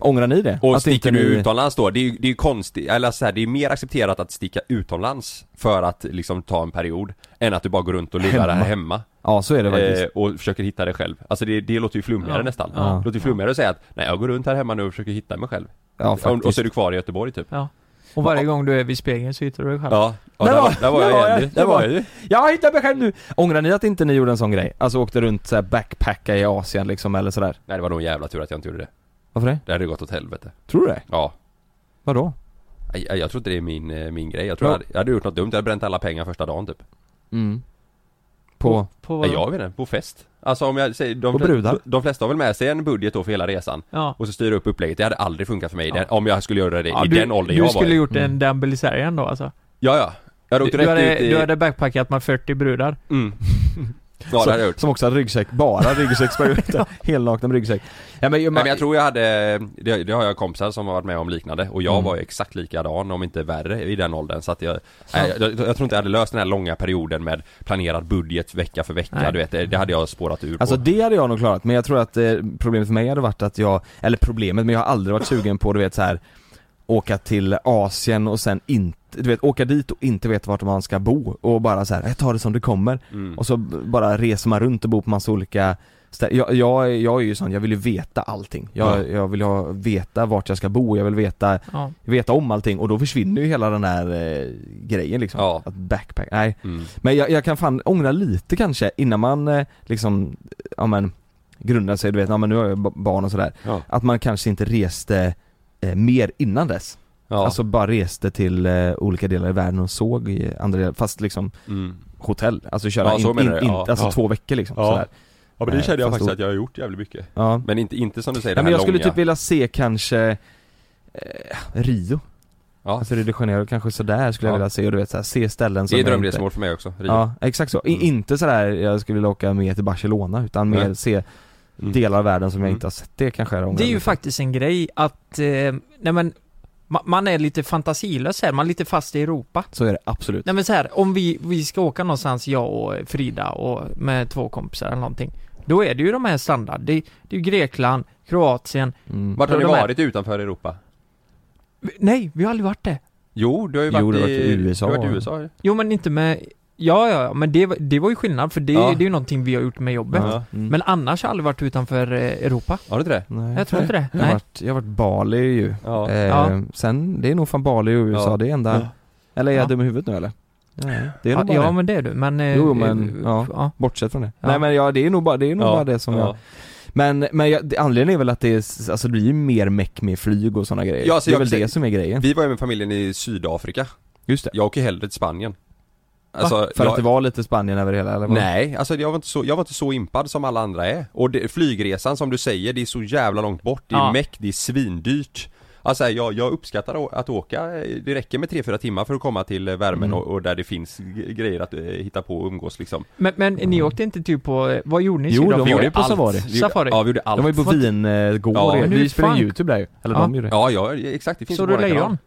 Speaker 3: Ångrar ni det?
Speaker 2: Och
Speaker 3: inte
Speaker 2: sticker du
Speaker 3: ni-
Speaker 2: utomlands då, det är ju, det är ju konstigt, eller så här, det är mer accepterat att sticka utomlands för att liksom ta en period än att du bara går runt och lurar
Speaker 3: Hemma.
Speaker 2: det här hemma
Speaker 3: Ja så är det faktiskt.
Speaker 2: eh, och försöker hitta dig själv. Alltså det, det låter ju flummigare
Speaker 4: Ja.
Speaker 2: nästan.
Speaker 3: Ja.
Speaker 2: Det låter ju flummigare att säga att nej jag går runt här hemma nu och försöker hitta mig själv.
Speaker 3: ja
Speaker 2: och,
Speaker 3: faktiskt.
Speaker 2: och så är du kvar i Göteborg typ.
Speaker 4: Ja. Och varje gång du är vid spegeln så hittar du dig själv.
Speaker 2: Ja, ja
Speaker 3: Där
Speaker 2: där,
Speaker 3: var-
Speaker 2: var,
Speaker 3: där
Speaker 2: där var
Speaker 3: var
Speaker 2: jag
Speaker 3: jag,
Speaker 2: igen.
Speaker 3: där
Speaker 2: Där
Speaker 3: var
Speaker 2: var jag ju.
Speaker 3: Jag har hittat mig själv nu! Ångrar ni att inte ni gjorde en sån grej? Alltså åkte runt såhär backpacka i Asien liksom eller sådär?
Speaker 2: Nej det var nog en jävla tur att jag inte gjorde det.
Speaker 3: Varför det?
Speaker 2: Det hade gått åt helvete.
Speaker 3: Tror du det?
Speaker 2: Ja.
Speaker 3: Vadå?
Speaker 2: Nej, Jag, jag tror inte det är min, eh, min grej. Jag tror
Speaker 3: Ja.
Speaker 2: jag, hade, jag hade gjort något dumt, jag hade bränt alla pengar första dagen typ.
Speaker 3: Mm. På?
Speaker 4: På
Speaker 2: Nej,
Speaker 4: vad?
Speaker 2: jag vet inte, på fest. Alltså om jag säger, de,
Speaker 3: Och brudar.
Speaker 2: de flesta har väl med sig en budget då för hela resan.
Speaker 4: Ja.
Speaker 2: Och så styra upp upplägget, det hade aldrig funkat för mig det, om jag skulle göra det i
Speaker 4: du,
Speaker 2: den åldern
Speaker 4: du
Speaker 2: jag var
Speaker 4: skulle
Speaker 2: i.
Speaker 4: gjort en Dambelisarian då alltså?
Speaker 2: Ja, ja. Jag
Speaker 4: Du,
Speaker 2: åkte
Speaker 4: du,
Speaker 2: rätt
Speaker 4: hade,
Speaker 2: ut i...
Speaker 4: du hade backpackat med 40 brudar.
Speaker 2: Mm. Ja, det hade jag
Speaker 3: som,
Speaker 2: gjort.
Speaker 3: som också hade ryggsäck, bara ryggsäck sprang ut där. Helnakna med ryggsäck. Ja, men,
Speaker 2: Nej, men jag tror jag hade, det, det har jag kompisar som har varit med om liknande och jag
Speaker 3: Mm.
Speaker 2: var ju exakt likadan om inte värre i den åldern så att jag, nej, jag, jag tror inte jag hade löst den här långa perioden med planerad budget vecka för vecka
Speaker 4: Nej.
Speaker 2: du vet, det, det hade jag spårat ur
Speaker 3: Alltså
Speaker 2: på.
Speaker 3: det hade jag nog klarat, men jag tror att eh, problemet för mig hade varit att jag, eller problemet, men jag har aldrig varit sugen på du vet så här åka till Asien och sen inte, du vet åka dit och inte veta vart man ska bo och bara så här, jag tar det som det kommer
Speaker 2: Mm.
Speaker 3: och så b- bara reser man runt och bor på massa olika stä- jag, jag, jag är ju sån, jag vill ju veta allting. Jag, jag vill ha, veta vart jag ska bo, jag vill veta,
Speaker 4: Ja.
Speaker 3: veta om allting och då försvinner ju hela den här eh, grejen liksom.
Speaker 2: Ja.
Speaker 3: Att backpack, nej.
Speaker 2: Mm.
Speaker 3: Men jag, jag kan fan ångra lite kanske innan man eh, liksom, eh, ja men grundar sig, du vet, ja men nu har jag ba- barn och sådär.
Speaker 2: Ja.
Speaker 3: Att man kanske inte reste eh, mer innan dess.
Speaker 2: Ja.
Speaker 3: Alltså bara reste till eh, olika delar i världen och såg i andra delar, fast liksom
Speaker 2: mm.
Speaker 3: hotell. Alltså köra
Speaker 2: Ja,
Speaker 3: in,
Speaker 2: så
Speaker 3: in,
Speaker 2: menar du,
Speaker 3: in,
Speaker 2: ja.
Speaker 3: alltså
Speaker 2: Ja.
Speaker 3: två veckor liksom.
Speaker 2: Ja.
Speaker 3: Sådär.
Speaker 2: ja
Speaker 3: men det kände jag faktiskt att
Speaker 2: jag har gjort jävligt mycket.
Speaker 3: Ja.
Speaker 2: Men inte, inte som du säger,
Speaker 3: Ja,
Speaker 2: det
Speaker 3: men
Speaker 2: här
Speaker 3: jag skulle
Speaker 2: långa.
Speaker 3: typ vilja se kanske eh, Rio,
Speaker 2: ja.
Speaker 3: alltså Rio de Janeiro kanske sådär skulle jag
Speaker 2: Ja.
Speaker 3: vilja se och du vet såhär, se ställen som
Speaker 2: Det är
Speaker 3: jag
Speaker 2: drömresmål för mig också, Rio.
Speaker 3: Ja, exakt så. I,
Speaker 2: Mm.
Speaker 3: Inte sådär, jag skulle vilja åka med till Barcelona utan mer
Speaker 2: Nej.
Speaker 3: se
Speaker 2: Mm.
Speaker 3: delar av världen som jag
Speaker 2: Mm.
Speaker 3: inte har sett. Det kanske är
Speaker 4: Det är ju faktiskt en grej att, eh, nej men, ma- man är lite fantasilös här, man är lite fast i Europa.
Speaker 3: Så är det absolut.
Speaker 4: Nej men så här, om vi, vi ska åka någonstans, jag och Frida och med två kompisar eller någonting. Då är det ju de här standard, det, det är ju Grekland, Kroatien.
Speaker 3: Mm.
Speaker 2: Vart har
Speaker 4: Ja,
Speaker 2: ni
Speaker 4: de är-
Speaker 2: varit utanför Europa?
Speaker 4: Vi- Nej, vi har aldrig varit det.
Speaker 2: Jo, du har ju
Speaker 3: Jo,
Speaker 2: varit,
Speaker 3: du har
Speaker 2: i,
Speaker 3: varit i USA.
Speaker 2: Du har varit i USA ja.
Speaker 4: Jo men inte med, ja ja, ja, men det, var- det var ju skillnad för det,
Speaker 2: Ja.
Speaker 4: det är ju någonting vi har gjort med jobbet.
Speaker 2: Ja.
Speaker 3: Mm.
Speaker 4: Men annars har jag aldrig varit utanför eh, Europa.
Speaker 2: Har du inte det?
Speaker 3: Nej.
Speaker 4: Jag tror inte det.
Speaker 3: Jag har,
Speaker 4: Nej.
Speaker 3: varit, jag har varit Bali ju.
Speaker 2: Ja.
Speaker 3: Eh,
Speaker 4: Ja.
Speaker 3: Sen, det är nog fan Bali och USA,
Speaker 2: Ja.
Speaker 3: det är enda... Eller är jag
Speaker 4: Ja.
Speaker 3: dum i huvudet nu eller? Nej, det är nog
Speaker 4: Ja,
Speaker 3: bara
Speaker 4: ja
Speaker 3: det.
Speaker 4: men det är du, men... eh,
Speaker 3: Jo, men,
Speaker 4: eh,
Speaker 3: ja.
Speaker 4: ja.
Speaker 3: Bortsett från det.
Speaker 4: Ja.
Speaker 3: Nej men ja, det är nog bara det, är nog
Speaker 2: Ja.
Speaker 3: bara det som jag...
Speaker 2: ja.
Speaker 3: Men, men jag, det- anledningen är väl att det är, s- alltså det blir ju mer meck med flyg och sådana grejer.
Speaker 2: Ja, alltså
Speaker 3: det är
Speaker 2: jag
Speaker 3: väl
Speaker 2: kan
Speaker 3: det
Speaker 2: säga-
Speaker 3: som är grejen.
Speaker 2: Vi var ju med familjen i Sydafrika.
Speaker 3: Mm. Just det.
Speaker 2: Jag åker hellre till Spanien. Alltså,
Speaker 3: För
Speaker 2: jag,
Speaker 3: att det var lite Spanien över hela eller? vad?
Speaker 2: Nej, alltså jag var, inte så, jag var inte så impad som alla andra är. Och det, flygresan som du säger, det är så jävla långt bort, det är
Speaker 4: Ja.
Speaker 2: meck, det är svindyrt. Alltså här, jag, jag uppskattar å- att åka, eh, det räcker med 3-4 timmar för att komma till eh, värmen
Speaker 3: Mm.
Speaker 2: och, och där det finns g- grejer att eh, hitta på och umgås liksom.
Speaker 4: Men, men ni åkte inte typ på, eh, vad gjorde ni i
Speaker 3: Jo, de
Speaker 4: Sydafrika?
Speaker 3: var ju på safari.
Speaker 2: Vi gjorde-
Speaker 4: Safari?
Speaker 2: Ja, vi gjorde
Speaker 3: De
Speaker 2: allt.
Speaker 3: var ju på eh,
Speaker 4: Vad-
Speaker 3: vingård
Speaker 2: Ja.
Speaker 3: ja,
Speaker 4: Men du,
Speaker 3: Vi spelade
Speaker 4: fan.
Speaker 3: ju youtube där ju. Eller
Speaker 4: Ja.
Speaker 3: de gjorde det.
Speaker 2: Ja, ja, exakt, det finns
Speaker 4: Så
Speaker 2: ju
Speaker 4: du
Speaker 2: på vår kanal.
Speaker 4: lejon?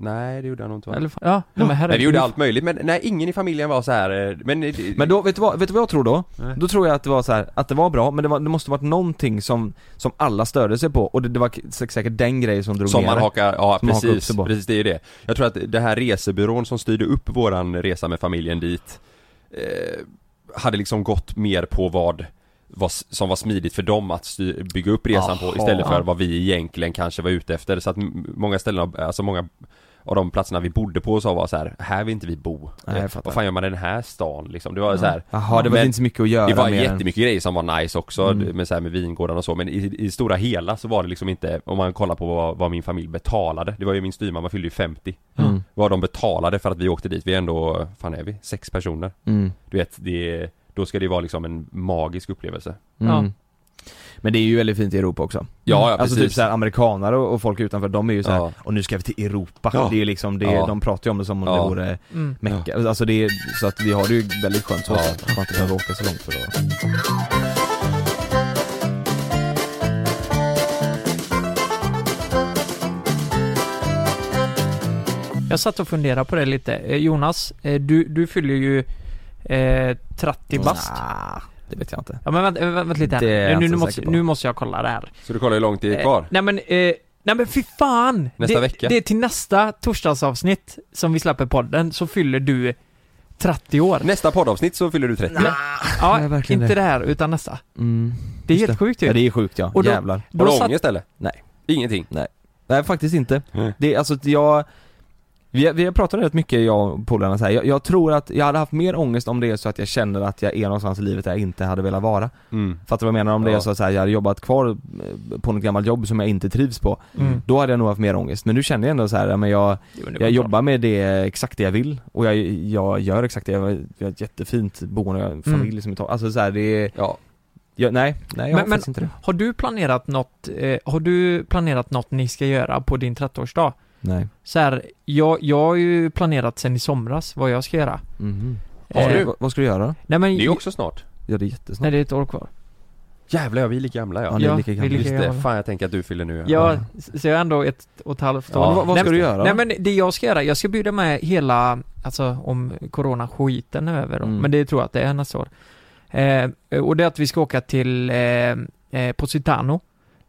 Speaker 2: Nej, det gjorde jag nog inte. va?
Speaker 4: Eller, fan- ja, nej, men herregud.
Speaker 2: Nej, vi gjorde allt möjligt men nej, ingen i familjen var så här. eh, men... eh, det-
Speaker 3: Men då, vet du, vad, vet du vad jag tror då?
Speaker 2: Nej.
Speaker 3: Då tror jag att det var så här, att det var bra, men det, var, det måste varit någonting som, som alla störde sig på och det, det var k- sä- säkert den grejen som drog
Speaker 2: Som
Speaker 3: ner
Speaker 2: man
Speaker 3: det.
Speaker 2: hakar, ja
Speaker 3: Som man hakar upp
Speaker 2: precis,
Speaker 3: sig på.
Speaker 2: precis det är det. Jag tror att den här resebyrån som styrde upp våran resa med familjen dit eh, Hade liksom gått mer på vad, vad s- som var smidigt för dem att styr, bygga upp resan på istället för vad vi egentligen kanske var ute efter. Så att m- många ställen, av- alltså många av de platserna vi bodde på så var så här, här vill inte vi bo.
Speaker 3: Nej, jag
Speaker 2: Eh,
Speaker 3: fattar.
Speaker 2: vad fan gör man i den här stan liksom? Det var så här,
Speaker 3: Jaha, det var
Speaker 2: Men-
Speaker 3: inte så mycket att göra
Speaker 2: det var
Speaker 3: mer än-
Speaker 2: jättemycket grejer som var nice också
Speaker 4: Mm.
Speaker 2: med, så här, med vingårdarna och så men i, i stora hela så var det liksom inte Om man kollar på vad, vad min familj betalade Det var ju min styrmamma fyllde ju 50
Speaker 3: Mm.
Speaker 2: Vad de betalade för att vi åkte dit, vi är ändå, fan är vi? Sex personer
Speaker 3: Mm.
Speaker 2: Du vet, det Då ska det ju vara liksom en magisk upplevelse
Speaker 3: Mm.
Speaker 4: Ja.
Speaker 3: Men det är ju väldigt fint i Europa också.
Speaker 2: Ja, ja
Speaker 3: alltså
Speaker 2: precis
Speaker 3: typ såhär amerikanare och, och folk utanför, de är ju såhär,
Speaker 2: Ja.
Speaker 3: och nu ska vi till Europa.
Speaker 2: Ja.
Speaker 3: Det är ju liksom, det,
Speaker 2: Ja.
Speaker 3: de pratar ju om det som om
Speaker 2: Ja.
Speaker 3: det vore
Speaker 4: Mm.
Speaker 3: Mecka. Alltså det är, så att vi har det ju väldigt skönt så
Speaker 2: Ja.
Speaker 3: att man inte behöver åka så långt för att
Speaker 4: Jag satt och funderade på det lite. Eh, Jonas, eh, du, du fyller ju eh, 30 bast.
Speaker 3: Nah, det vet jag inte.
Speaker 4: Ja men vänta, vänta, vänta lite
Speaker 3: Mm. Det är
Speaker 4: här. Eh,
Speaker 3: jag
Speaker 4: Nu,
Speaker 3: inte så
Speaker 4: nu, måste,
Speaker 3: säker på.
Speaker 4: nu måste jag kolla det här.
Speaker 2: Så du kollar hur långt det är kvar?
Speaker 4: Eh, nej men, eh, nej men fy fan!
Speaker 2: Nästa
Speaker 4: det,
Speaker 2: vecka.
Speaker 4: Det är till nästa torsdagsavsnitt som vi släpper podden, så fyller du 30 år.
Speaker 2: Nästa poddavsnitt så fyller du 30
Speaker 4: ja,
Speaker 3: det är verkligen
Speaker 4: inte
Speaker 3: det.
Speaker 4: det. här, utan nästa.
Speaker 3: Mm.
Speaker 4: Det är
Speaker 3: Just
Speaker 4: helt sjukt ju.
Speaker 3: Ja det är sjukt ja,
Speaker 4: Och då-
Speaker 3: jävlar.
Speaker 2: Har
Speaker 4: Då
Speaker 2: du
Speaker 4: satt,
Speaker 2: ångest eller?
Speaker 3: Nej.
Speaker 2: Ingenting?
Speaker 3: Nej faktiskt inte.
Speaker 2: Nej.
Speaker 3: Det är alltså att jag vi har, vi har pratat rätt mycket jag och polarna så här. Jag, jag tror att jag hade haft mer ångest om det är så att jag känner att jag är någonstans i livet där jag inte hade velat vara.
Speaker 2: Mm.
Speaker 3: Fattar du vad jag menar? Om det
Speaker 2: Ja.
Speaker 3: är så att så här, jag hade jobbat kvar eh, på något gammalt jobb som jag inte trivs på.
Speaker 4: Mm.
Speaker 3: Då hade jag nog haft mer ångest. Men nu känner jag ändå så här, ja, men jag,
Speaker 4: Jo, men det var
Speaker 3: jag
Speaker 4: klart.
Speaker 3: jobbar med det exakt det jag vill och jag, jag gör exakt det jag vill. Jag har ett jättefint boende, jag har en familj som är topp. Alltså så här, det är,
Speaker 2: Ja,
Speaker 3: jag, nej, nej jag har
Speaker 4: Men- men-
Speaker 3: faktiskt inte det.
Speaker 4: Har du planerat något, eh, har du planerat något ni ska göra på din 30-årsdag?
Speaker 3: Nej.
Speaker 4: Så här, jag, jag har ju planerat sen i somras vad jag ska göra.
Speaker 3: Mhm.
Speaker 2: Har
Speaker 4: Eh,
Speaker 2: du?
Speaker 3: Vad- Vad ska du göra?
Speaker 4: Nej men,
Speaker 2: Det är också snart.
Speaker 3: Ja det är jättesnart.
Speaker 4: nej det är ett år kvar.
Speaker 2: Jävlar ja, vi är lika gamla ja.
Speaker 3: Ja, ni är
Speaker 4: Ja,
Speaker 3: lika
Speaker 4: vi är
Speaker 3: gamla.
Speaker 4: lika
Speaker 2: Just det,
Speaker 4: gamla.
Speaker 2: fan jag tänker att du fyller nu
Speaker 4: Ja, så jag är ändå ett och ett halvt år.
Speaker 2: Ja.
Speaker 3: Men vad, vad
Speaker 4: nej,
Speaker 3: ska du göra?
Speaker 4: Nej men det jag ska göra, jag ska bjuda med hela, alltså om corona-skiten är över då,
Speaker 3: Mm.
Speaker 4: men det tror jag att det är nästa år. Eh, och det är att vi ska åka till eh, eh, Positano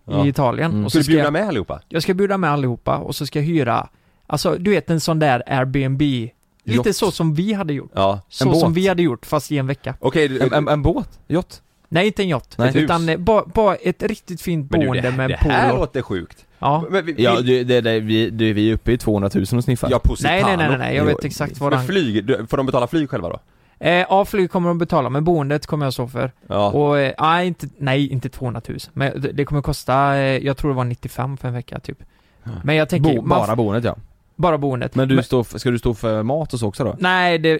Speaker 2: Ja.
Speaker 4: i Italien.
Speaker 3: Mm.
Speaker 4: Och
Speaker 2: Ska
Speaker 4: så
Speaker 2: du
Speaker 4: ska
Speaker 2: bjuda
Speaker 4: jag,
Speaker 2: med allihopa?
Speaker 4: jag ska bjuda med allihopa och så ska jag hyra, alltså du vet en sån där Airbnb, lite
Speaker 3: Yacht.
Speaker 4: så som vi hade gjort.
Speaker 2: Ja.
Speaker 4: Så
Speaker 3: båt.
Speaker 4: som vi hade gjort, fast i en vecka.
Speaker 2: Okej, du-
Speaker 3: En, en, en båt? Yacht?
Speaker 4: Nej, inte en yacht.
Speaker 3: Nej. Ett hus.
Speaker 4: utan eh, bara, bara ett riktigt fint
Speaker 2: men du,
Speaker 4: boende
Speaker 2: det,
Speaker 4: med
Speaker 2: det
Speaker 4: en
Speaker 2: här
Speaker 4: pool och...
Speaker 2: låter sjukt.
Speaker 4: Ja.
Speaker 2: Men, vi,
Speaker 3: Ja
Speaker 2: vi-
Speaker 3: det, det, det, vi, det, vi är uppe i 200 000 och sniffar.
Speaker 2: ja
Speaker 4: Nej,
Speaker 2: Positano.
Speaker 4: nej, nej, nej, nej, jag
Speaker 3: Jo,
Speaker 4: vet exakt vad
Speaker 2: Men
Speaker 4: han...
Speaker 2: flyg, du, får de betala flyg själva då?
Speaker 4: Eh, ja, flyg kommer de betala, men boendet kommer jag stå för.
Speaker 2: Ja.
Speaker 4: Och, eh, nej, inte, nej, inte 200 000. Men det, det kommer kosta, eh, jag tror det var 95 för en vecka typ. Men jag tänker,
Speaker 3: Bo,
Speaker 4: man f-
Speaker 3: bara boendet ja.
Speaker 4: bara boendet.
Speaker 3: Men du står, f- ska du stå för mat och så också då?
Speaker 4: Nej, det...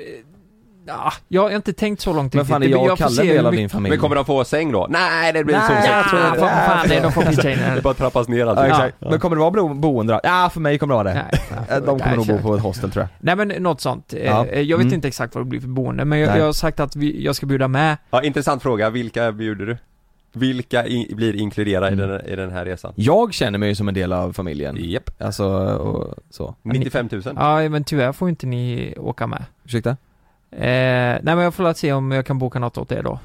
Speaker 4: Ah, jag har inte tänkt så långt
Speaker 3: Men fan är
Speaker 4: Det-
Speaker 3: jag och
Speaker 4: får
Speaker 3: Kalle
Speaker 4: se
Speaker 3: en
Speaker 4: hur
Speaker 3: del av
Speaker 4: mycket-
Speaker 3: din familj?
Speaker 2: Men kommer de få säng då? Nej, det blir en
Speaker 4: Nej,
Speaker 2: sovsäck.
Speaker 4: ja, fan, fan, nej, de får pitcha in
Speaker 2: Det är
Speaker 4: en.
Speaker 2: bara trappas ner alltså.
Speaker 3: Ja,
Speaker 2: allting.
Speaker 3: exakt. Men kommer det vara bo- boende då? Ja, för mig kommer det vara det.
Speaker 4: Nej,
Speaker 3: Eh, De kommer
Speaker 4: nej,
Speaker 3: nog bo
Speaker 4: kör.
Speaker 3: på ett hostel tror jag.
Speaker 4: Nej men något sånt. Eh,
Speaker 3: Ja.
Speaker 4: eh, Jag vet
Speaker 3: Mm.
Speaker 4: inte exakt vad det blir för boende, men jag,
Speaker 3: Nej.
Speaker 4: jag har sagt att vi, jag ska bjuda med
Speaker 2: Ja, intressant fråga. Vilka bjuder du? Vilka i, blir inkluderade i,
Speaker 3: Mm.
Speaker 2: den, i den här resan?
Speaker 3: Jag känner mig ju som en del av familjen.
Speaker 2: Japp.
Speaker 3: Alltså, och så.
Speaker 2: 95 000?
Speaker 4: Ja, men tyvärr får inte ni åka med.
Speaker 3: Ursäkta?
Speaker 4: Eh, nej men jag får väl se om jag kan boka något åt er då.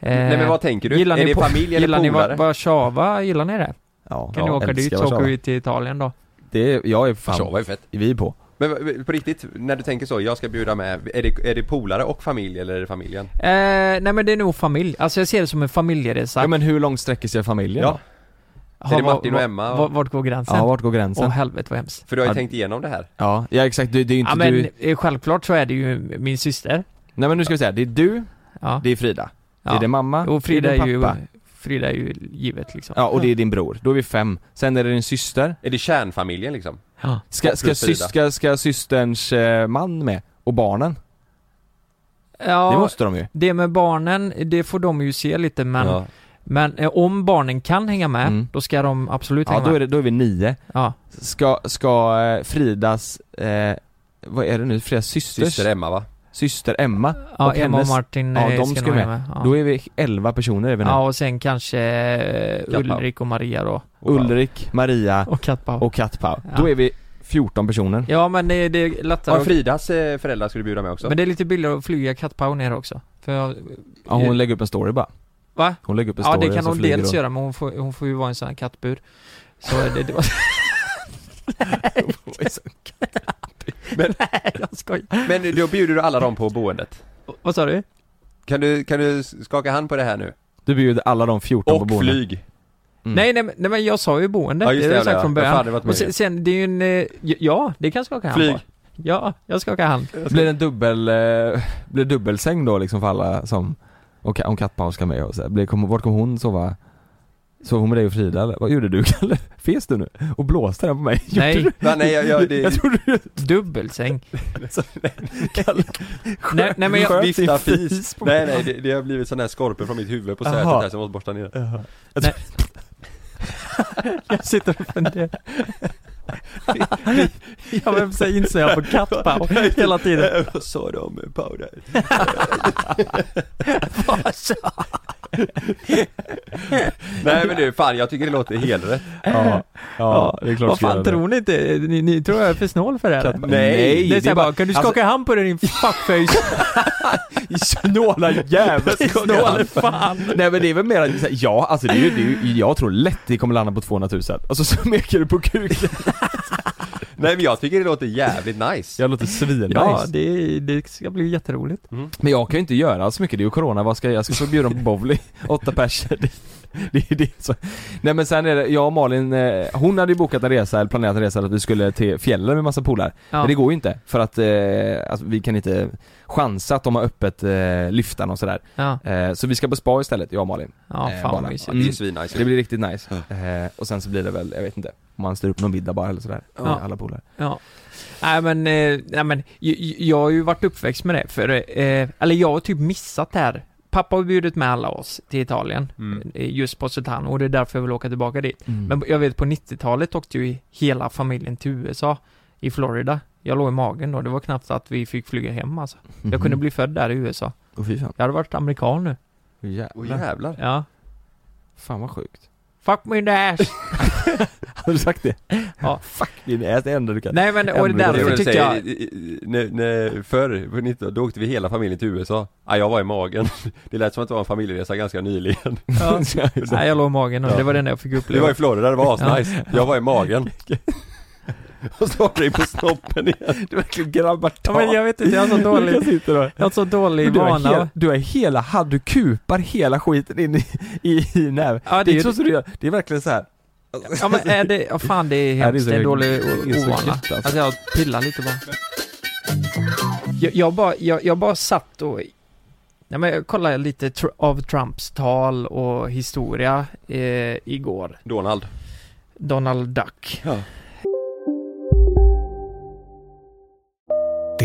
Speaker 4: Eh,
Speaker 2: Nej men vad tänker du?
Speaker 4: gillar
Speaker 2: Är
Speaker 4: ni
Speaker 2: det
Speaker 4: po-
Speaker 2: familj
Speaker 4: Gillar
Speaker 2: eller
Speaker 4: ni va-
Speaker 2: polare?
Speaker 4: Warszawa? Gillar ni det?
Speaker 3: Ja,
Speaker 4: Kan
Speaker 3: ja,
Speaker 4: ni åka
Speaker 3: älskar
Speaker 4: dit så
Speaker 3: Warszawa.
Speaker 4: åker vi till Italien då.
Speaker 3: Det är, jag är fan,
Speaker 2: Warszawa är ju fett.
Speaker 3: vi är på.
Speaker 2: Men v- på riktigt, när du tänker så, jag ska bjuda med, är det, är det polare och familj eller är det familjen?
Speaker 4: Eh, nej men det är nog familj. Alltså jag ser det som en familjeresa.
Speaker 3: Ja men hur långt sträcker sig familjen
Speaker 2: Ja.
Speaker 3: då?
Speaker 4: Ha,
Speaker 2: är det
Speaker 4: va-
Speaker 2: Martin
Speaker 4: va-
Speaker 2: och Emma och-
Speaker 4: va- Vart går gränsen?
Speaker 3: Ja,
Speaker 4: Åh
Speaker 3: vart går gränsen?
Speaker 4: helvete vad hemskt.
Speaker 2: För du har ju
Speaker 3: Ja.
Speaker 2: tänkt igenom det här.
Speaker 3: Ja, ja exakt, det, det är ju inte
Speaker 4: Ja men
Speaker 3: du...
Speaker 4: eh, självklart så är det ju min syster.
Speaker 3: Nej men nu ska vi säga, det är du,
Speaker 4: Ja.
Speaker 3: det är Frida. Det
Speaker 4: Ja.
Speaker 3: är det mamma,
Speaker 4: och Frida
Speaker 3: det
Speaker 4: är
Speaker 3: är det
Speaker 4: ju,
Speaker 3: pappa.
Speaker 4: Frida är ju givet liksom.
Speaker 3: Ja och det är din bror. Då är vi fem. Sen är det din syster.
Speaker 2: Är det kärnfamiljen liksom?
Speaker 4: Ja.
Speaker 3: Ska,
Speaker 2: Och
Speaker 3: ska,
Speaker 2: plus Frida.
Speaker 3: sys, ska, ska systerns eh, man med? Och barnen?
Speaker 4: Ja,
Speaker 3: Det måste de ju.
Speaker 4: det med barnen, det får de ju se lite men
Speaker 2: Ja.
Speaker 4: Men eh, om barnen kan hänga med,
Speaker 3: Mm.
Speaker 4: då ska de absolut
Speaker 3: Ja
Speaker 4: hänga
Speaker 3: då är,
Speaker 4: med.
Speaker 3: det, då är vi nio.
Speaker 4: Ja.
Speaker 3: Ska, ska eh, Fridas, eh, vad är det nu? Fridas systers,
Speaker 2: Syster Emma va?
Speaker 3: syster Emma.
Speaker 4: Ja,
Speaker 3: och
Speaker 4: Emma och
Speaker 3: hennes-
Speaker 4: Martin
Speaker 3: ja,
Speaker 4: eh,
Speaker 3: de
Speaker 4: ska,
Speaker 3: ska
Speaker 4: nog
Speaker 3: med.
Speaker 4: hänga med. Ja.
Speaker 3: Då är vi elva personer är vi nu.
Speaker 4: ja, och sen kanske eh,
Speaker 2: Katt Pau.
Speaker 4: Ulrik och Maria då.
Speaker 3: Ulrik, Maria
Speaker 4: Och Katpa.
Speaker 3: och Katpau.
Speaker 4: Ja.
Speaker 3: Då är vi 14 personer.
Speaker 4: Ja, men det, det är lättare
Speaker 2: Ja,
Speaker 4: att...
Speaker 2: Fridas eh, föräldrar ska du bjuda med också?
Speaker 4: Men det är lite billigare att flyga Katpau ner också. För jag...
Speaker 3: Ja, hon lägger upp en story bara.
Speaker 4: Va?
Speaker 3: Hon lägger upp en
Speaker 4: Ja,
Speaker 3: story
Speaker 4: det kan
Speaker 3: och så
Speaker 4: hon
Speaker 3: flyger
Speaker 4: dels
Speaker 3: hon.
Speaker 4: göra, men hon får, hon får ju vara i en sån här kattbur. Så det, det var...
Speaker 2: Men-
Speaker 4: Nej, jag skojar.
Speaker 2: Men då bjuder du alla dem på boendet?
Speaker 4: Vad sa du?
Speaker 3: Mm.
Speaker 2: Kan du, kan du skaka hand på det här nu?
Speaker 3: Du bjuder alla de 14 på
Speaker 2: Och
Speaker 3: boendet.
Speaker 2: flyg!
Speaker 3: Mm.
Speaker 4: Nej, nej, men- nej, men jag sa ju boende.
Speaker 2: Ja,
Speaker 4: det
Speaker 2: just
Speaker 4: har
Speaker 2: det,
Speaker 4: jag sagt
Speaker 2: ja.
Speaker 4: från
Speaker 2: Ja,
Speaker 4: början.
Speaker 2: fan, det var ett
Speaker 4: och sen, sen, det är ju en... eh, Ja, det kan jag skaka hand
Speaker 2: Flyg!
Speaker 4: på. Ja, jag skakar hand.
Speaker 3: Blir det en dubbel, eh, blir det dubbelsäng då liksom för alla som, och, ka- om Katpau ska med och så här. Blir, kom, vart kommer hon sova? Sov hon med dig och Frida eller? Vad gjorde du Kalle? Fes du nu? Och blåste den på mig? Gjorde
Speaker 4: Nej.
Speaker 3: du?
Speaker 2: Va, nej, jag, jag, det,
Speaker 3: Jag trodde du
Speaker 4: Dubbelsäng.
Speaker 3: Kalle
Speaker 4: Nej, nej men jag,
Speaker 3: sköt
Speaker 2: Vifta
Speaker 3: sin
Speaker 2: fis!
Speaker 3: på
Speaker 2: Nej
Speaker 3: mig.
Speaker 2: nej, det, det har blivit sån här skorpor från mitt huvud på
Speaker 3: Jaha.
Speaker 2: sätet här så jag måste borsta ner
Speaker 4: jag sitter och funderar. ja men så inser jag på Kattpau hela tiden.
Speaker 2: Vad sa de om powder? Nej men du, fan jag tycker det låter helt rätt
Speaker 3: Ja, ja, det är klart
Speaker 4: Vad
Speaker 3: ska
Speaker 4: fan
Speaker 3: göra det.
Speaker 4: tror ni inte? Ni, ni tror jag är för snål för det här?
Speaker 3: Kattpau. Nej,
Speaker 4: det
Speaker 3: det
Speaker 4: är
Speaker 3: är
Speaker 4: såhär
Speaker 3: bara- alltså-
Speaker 4: bara, kan du skaka hand på dig din fuckface?
Speaker 3: Snåla jävel
Speaker 4: Snål fan.
Speaker 3: Nej men det är väl mer att, så här, ja alltså det är ju, det är ju, jag tror lätt det kommer landa på 200 000 Alltså så mycket du på kuken
Speaker 2: Nej men jag tycker det låter jävligt nice
Speaker 3: Jag låter svinnice
Speaker 4: Ja, det, det ska bli jätteroligt.
Speaker 3: Men jag kan ju inte göra så mycket, det är ju corona, vad ska jag, jag ska få bjuda dem på bowling, åtta personer det, det är det som... Nej men sen är det, jag och Malin, eh, hon hade ju bokat en resa, eller planerat en resa att vi skulle till fjällen med massa polare
Speaker 4: Ja.
Speaker 3: Men det går ju inte, för att eh, alltså, vi kan inte chansa att de har öppet eh, lyftan och sådär
Speaker 4: Ja,
Speaker 3: eh, Så vi ska på spa istället, jag och Malin
Speaker 4: ja
Speaker 3: Eh,
Speaker 4: fan vad
Speaker 3: bara.
Speaker 4: mysigt.
Speaker 2: Det är
Speaker 3: Mm.
Speaker 2: svinnice
Speaker 3: Det blir riktigt nice, eh, och sen så blir det väl, jag vet inte, om man styr upp någon middag bara eller sådär, med
Speaker 4: Ja.
Speaker 3: alla polare
Speaker 4: Ja. Nej men, eh, nej men, jag, jag har ju varit uppväxt med det för, eh, eller jag har typ missat det här pappa har bjudit med alla oss till Italien,
Speaker 2: Mm.
Speaker 4: eh, just på Sultano och det är därför jag vill åka tillbaka dit.
Speaker 3: Mm.
Speaker 4: Men jag vet på 90-talet åkte ju hela familjen till USA, i Florida. Jag låg i magen då, det var knappt att vi fick flyga hem alltså. Jag
Speaker 2: Mm.
Speaker 4: kunde bli född där i USA.
Speaker 3: Mhm. Åh fy fan.
Speaker 4: Jag hade varit amerikan nu.
Speaker 3: Åh, jävlar.
Speaker 2: Åh jävlar.
Speaker 4: Ja.
Speaker 3: Fan vad sjukt.
Speaker 4: Fuck my dash!
Speaker 3: Har du sagt det?
Speaker 4: Ja.
Speaker 3: Fuck din ass, det enda du kan.
Speaker 4: Nej men, och
Speaker 3: Ändå
Speaker 2: Det är
Speaker 4: därför
Speaker 2: det du
Speaker 4: tyckte
Speaker 2: säger,
Speaker 4: jag...
Speaker 2: i- i- när- när- förr, på 90 då åkte vi hela familjen till USA. Ja, jag var i magen. Det lät som att det var en familjeresa ganska nyligen.
Speaker 4: Ja. Nej jag låg i magen och
Speaker 2: Ja.
Speaker 4: det var det enda jag fick
Speaker 2: Vi var i
Speaker 4: uppleva.
Speaker 2: Florida, det var asnice. Jag var i magen. Och så var det på snoppen igen.
Speaker 3: Du verkligen grabbar
Speaker 4: Ja, men jag vet inte, jag har så
Speaker 3: Jag
Speaker 4: dålig,
Speaker 3: sitter där.
Speaker 4: jag har så dålig
Speaker 3: Du har,
Speaker 4: vana.
Speaker 3: hela, du har hela hand, du kupar hela skiten in i, i, i näven.
Speaker 4: Ja,
Speaker 3: det är
Speaker 4: det är-
Speaker 3: inte så som du gör, det är verkligen så här.
Speaker 4: Ja men är det, ja, fan det är hemskt,
Speaker 3: så
Speaker 4: det är
Speaker 3: hög-
Speaker 4: dålig o-
Speaker 3: det är så
Speaker 4: ovana.
Speaker 3: knäppt, alltså.
Speaker 4: Alltså jag pillar lite bara. Jag, jag bara, jag, jag bara satt och, nej men jag kollade lite tr- av Trumps tal och historia eh, igår.
Speaker 2: Donald.
Speaker 4: Donald Duck.
Speaker 6: Det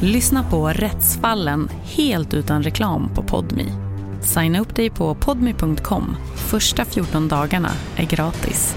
Speaker 7: Lyssna på Rättsfallen helt utan reklam på Podmi. Signa upp dig på podmi.com. Första 14 dagarna är gratis.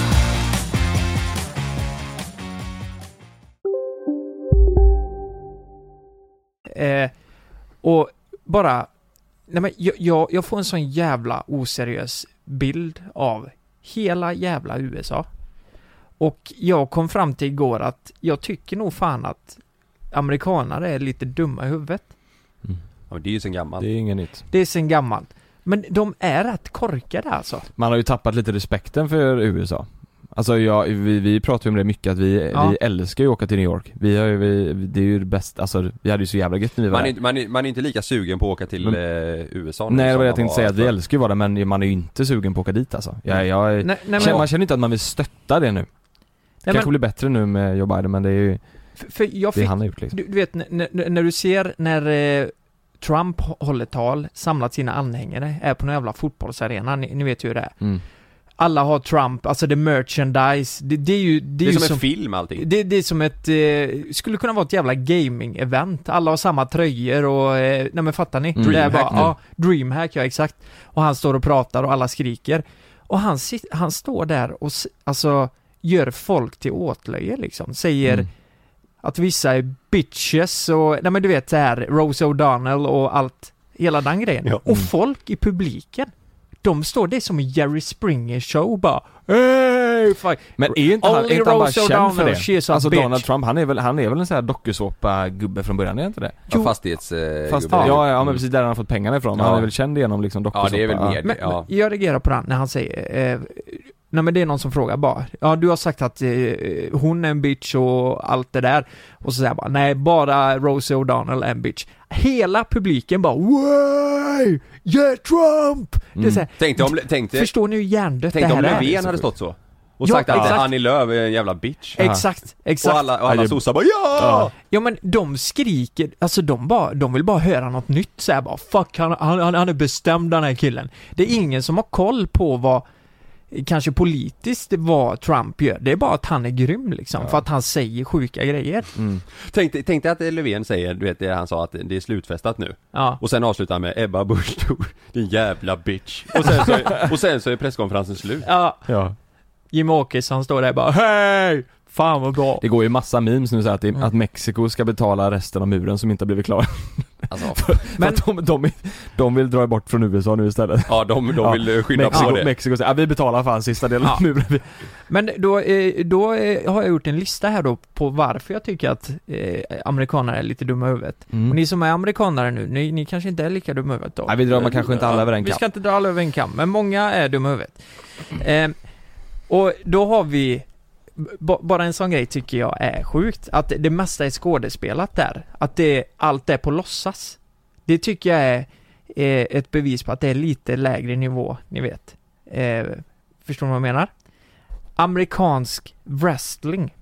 Speaker 4: Eh, och bara, nej men jag, jag, jag får en sån jävla oseriös bild av hela jävla USA. Och jag kom fram till igår att jag tycker nog fan att amerikanare är lite dumma i huvudet.
Speaker 2: Ja, men det är ju sen gammalt.
Speaker 3: Det är inget nytt.
Speaker 4: Det är sen gammalt. Men de är rätt korkade alltså.
Speaker 3: Man har ju tappat lite respekten för USA. Alltså jag, vi, vi pratar ju om det mycket att vi,
Speaker 4: Ja.
Speaker 3: vi älskar ju att åka till New York. Vi har ju, vi, det är ju det bästa, alltså vi hade ju så jävla gött när vi var
Speaker 2: Man är,
Speaker 3: där.
Speaker 2: inte- man, är, man är inte lika sugen på att åka till
Speaker 3: Men-
Speaker 2: eh, USA nu
Speaker 3: Nej det var
Speaker 2: som
Speaker 3: det
Speaker 2: man
Speaker 3: jag tänkte säga, att vi
Speaker 2: förr.
Speaker 3: älskar ju att vara där men man är ju inte sugen på att åka dit alltså. Jag, jag,
Speaker 4: Nej, nej, men-
Speaker 3: känner, man känner inte att man vill stötta det nu. Det kanske
Speaker 4: men-
Speaker 3: blir bättre nu med Joe Biden men det är ju
Speaker 4: För, för jag
Speaker 3: det
Speaker 4: fick,
Speaker 3: han har gjort liksom.
Speaker 4: du, du vet när- när, när du ser när eh, Trump håller tal, samlat sina anhängare, är på någon jävla fotbollsarena, ni, ni vet ju hur det är.
Speaker 3: Mm.
Speaker 4: alla har Trump, alltså det är merchandise, det, det är ju...
Speaker 2: Det är,
Speaker 4: ju
Speaker 2: som, en film allting.
Speaker 4: det, det är som ett, eh, skulle kunna vara ett jävla gaming-event. Alla har samma tröjor och, eh, nej men fattar ni?
Speaker 3: Mm.
Speaker 4: Det är bara,
Speaker 3: Dreamhack nu.
Speaker 4: ja, Dreamhack, ja exakt. Och han står och pratar och alla skriker. Och han, sit, han står där och, s- alltså, gör folk till åtlöje liksom. Säger
Speaker 3: Mm.
Speaker 4: att vissa är bitches och, nej men du vet så här, Rose O'Donnell och allt, hela den grejen.
Speaker 2: Ja. mm.
Speaker 4: Och folk i publiken, de står, det är som en Jerry Springer show bara Hey, fuck.
Speaker 3: Men är inte han, är
Speaker 4: Only
Speaker 3: inte han bara
Speaker 4: Rose
Speaker 3: känd för
Speaker 4: O'Donnell,
Speaker 3: det?
Speaker 4: she's a
Speaker 3: Alltså
Speaker 4: bitch.
Speaker 3: Donald Trump, han är väl, han är väl en sån här dokusåpa-gubbe från början, är inte det?
Speaker 2: Ja, fastighets... Eh,
Speaker 3: Fast,
Speaker 2: gubben.
Speaker 3: ja, ja, ja men precis där han har fått pengarna ifrån,
Speaker 2: Ja.
Speaker 3: han är väl känd genom liksom
Speaker 2: Ja,
Speaker 3: dokusåpa
Speaker 2: det är väl mer
Speaker 4: Men,
Speaker 2: det, ja.
Speaker 4: men jag reagerar på den när han säger eh, Nej men det är någon som frågar bara, ja du har sagt att eh, hon är en bitch och allt det där. Och så säger jag bara, nej bara Rosie O'Donnell är en bitch. Hela publiken bara, way! Yeah Trump! Det är så här,
Speaker 2: Tänk dig om, tänk dig,
Speaker 4: förstår ni hur hjärndött det
Speaker 2: Mm. tänk dig om
Speaker 4: här är?
Speaker 2: Löfven hade stått så. Och
Speaker 4: Ja,
Speaker 2: sagt att
Speaker 4: exakt.
Speaker 2: Annie Lööf är en jävla bitch.
Speaker 4: Exakt, exakt.
Speaker 2: Och alla, och alla
Speaker 3: Ja, det-
Speaker 2: sossar bara ja!
Speaker 4: Ja men de skriker, alltså de bara, de vill bara höra något nytt så här bara fuck han, han, han han är bestämd den här killen. Det är ingen som har koll på vad kanske politiskt vad Trump gör. Det är bara att han är grym liksom, för att han säger sjuka grejer.
Speaker 3: Mm.
Speaker 2: Tänk, dig- tänk dig att Löfven säger, du vet det han sa att det är slutfestat nu
Speaker 4: Ja.
Speaker 2: Och sen avslutar han med Ebba Busch Thor, din jävla bitch och sen, så är, och sen så är presskonferensen slut
Speaker 4: Ja. Jimmie Åkesson står där bara Hej! Fan vad bra!
Speaker 3: Det går ju massa memes nu så här att, det- att Mexiko ska betala resten av muren som inte har blivit klar.
Speaker 2: Alltså,
Speaker 3: men... för att de, de, de vill dra bort från USA nu istället.
Speaker 2: Ja, de- de vill, eh, skynda på
Speaker 3: Mexiko,
Speaker 2: det.
Speaker 3: Mexiko säger, ja, vi betalar fan sista delen
Speaker 4: Ja.
Speaker 3: av muren. Vi-
Speaker 4: Men då, eh, då eh, har jag gjort en lista här då på varför jag tycker att eh, amerikanare är lite dumma i huvudet.
Speaker 3: Mm.
Speaker 4: Och ni som är amerikanare nu, ni, ni kanske inte är lika dumma i huvudet då?
Speaker 3: Nej, vi drar man kanske inte alla över en
Speaker 4: Vi
Speaker 3: kam.
Speaker 4: ska inte dra alla över en kam, men många är dumma i huvudet. Eh, och då har vi B- bara en sån grej tycker jag är sjukt, att det mesta är skådespelat där. Att det, allt är på låtsas. Det tycker jag är eh, ett bevis på att det är lite lägre nivå, ni vet. Eh, förstår ni vad jag menar? Amerikansk wrestling.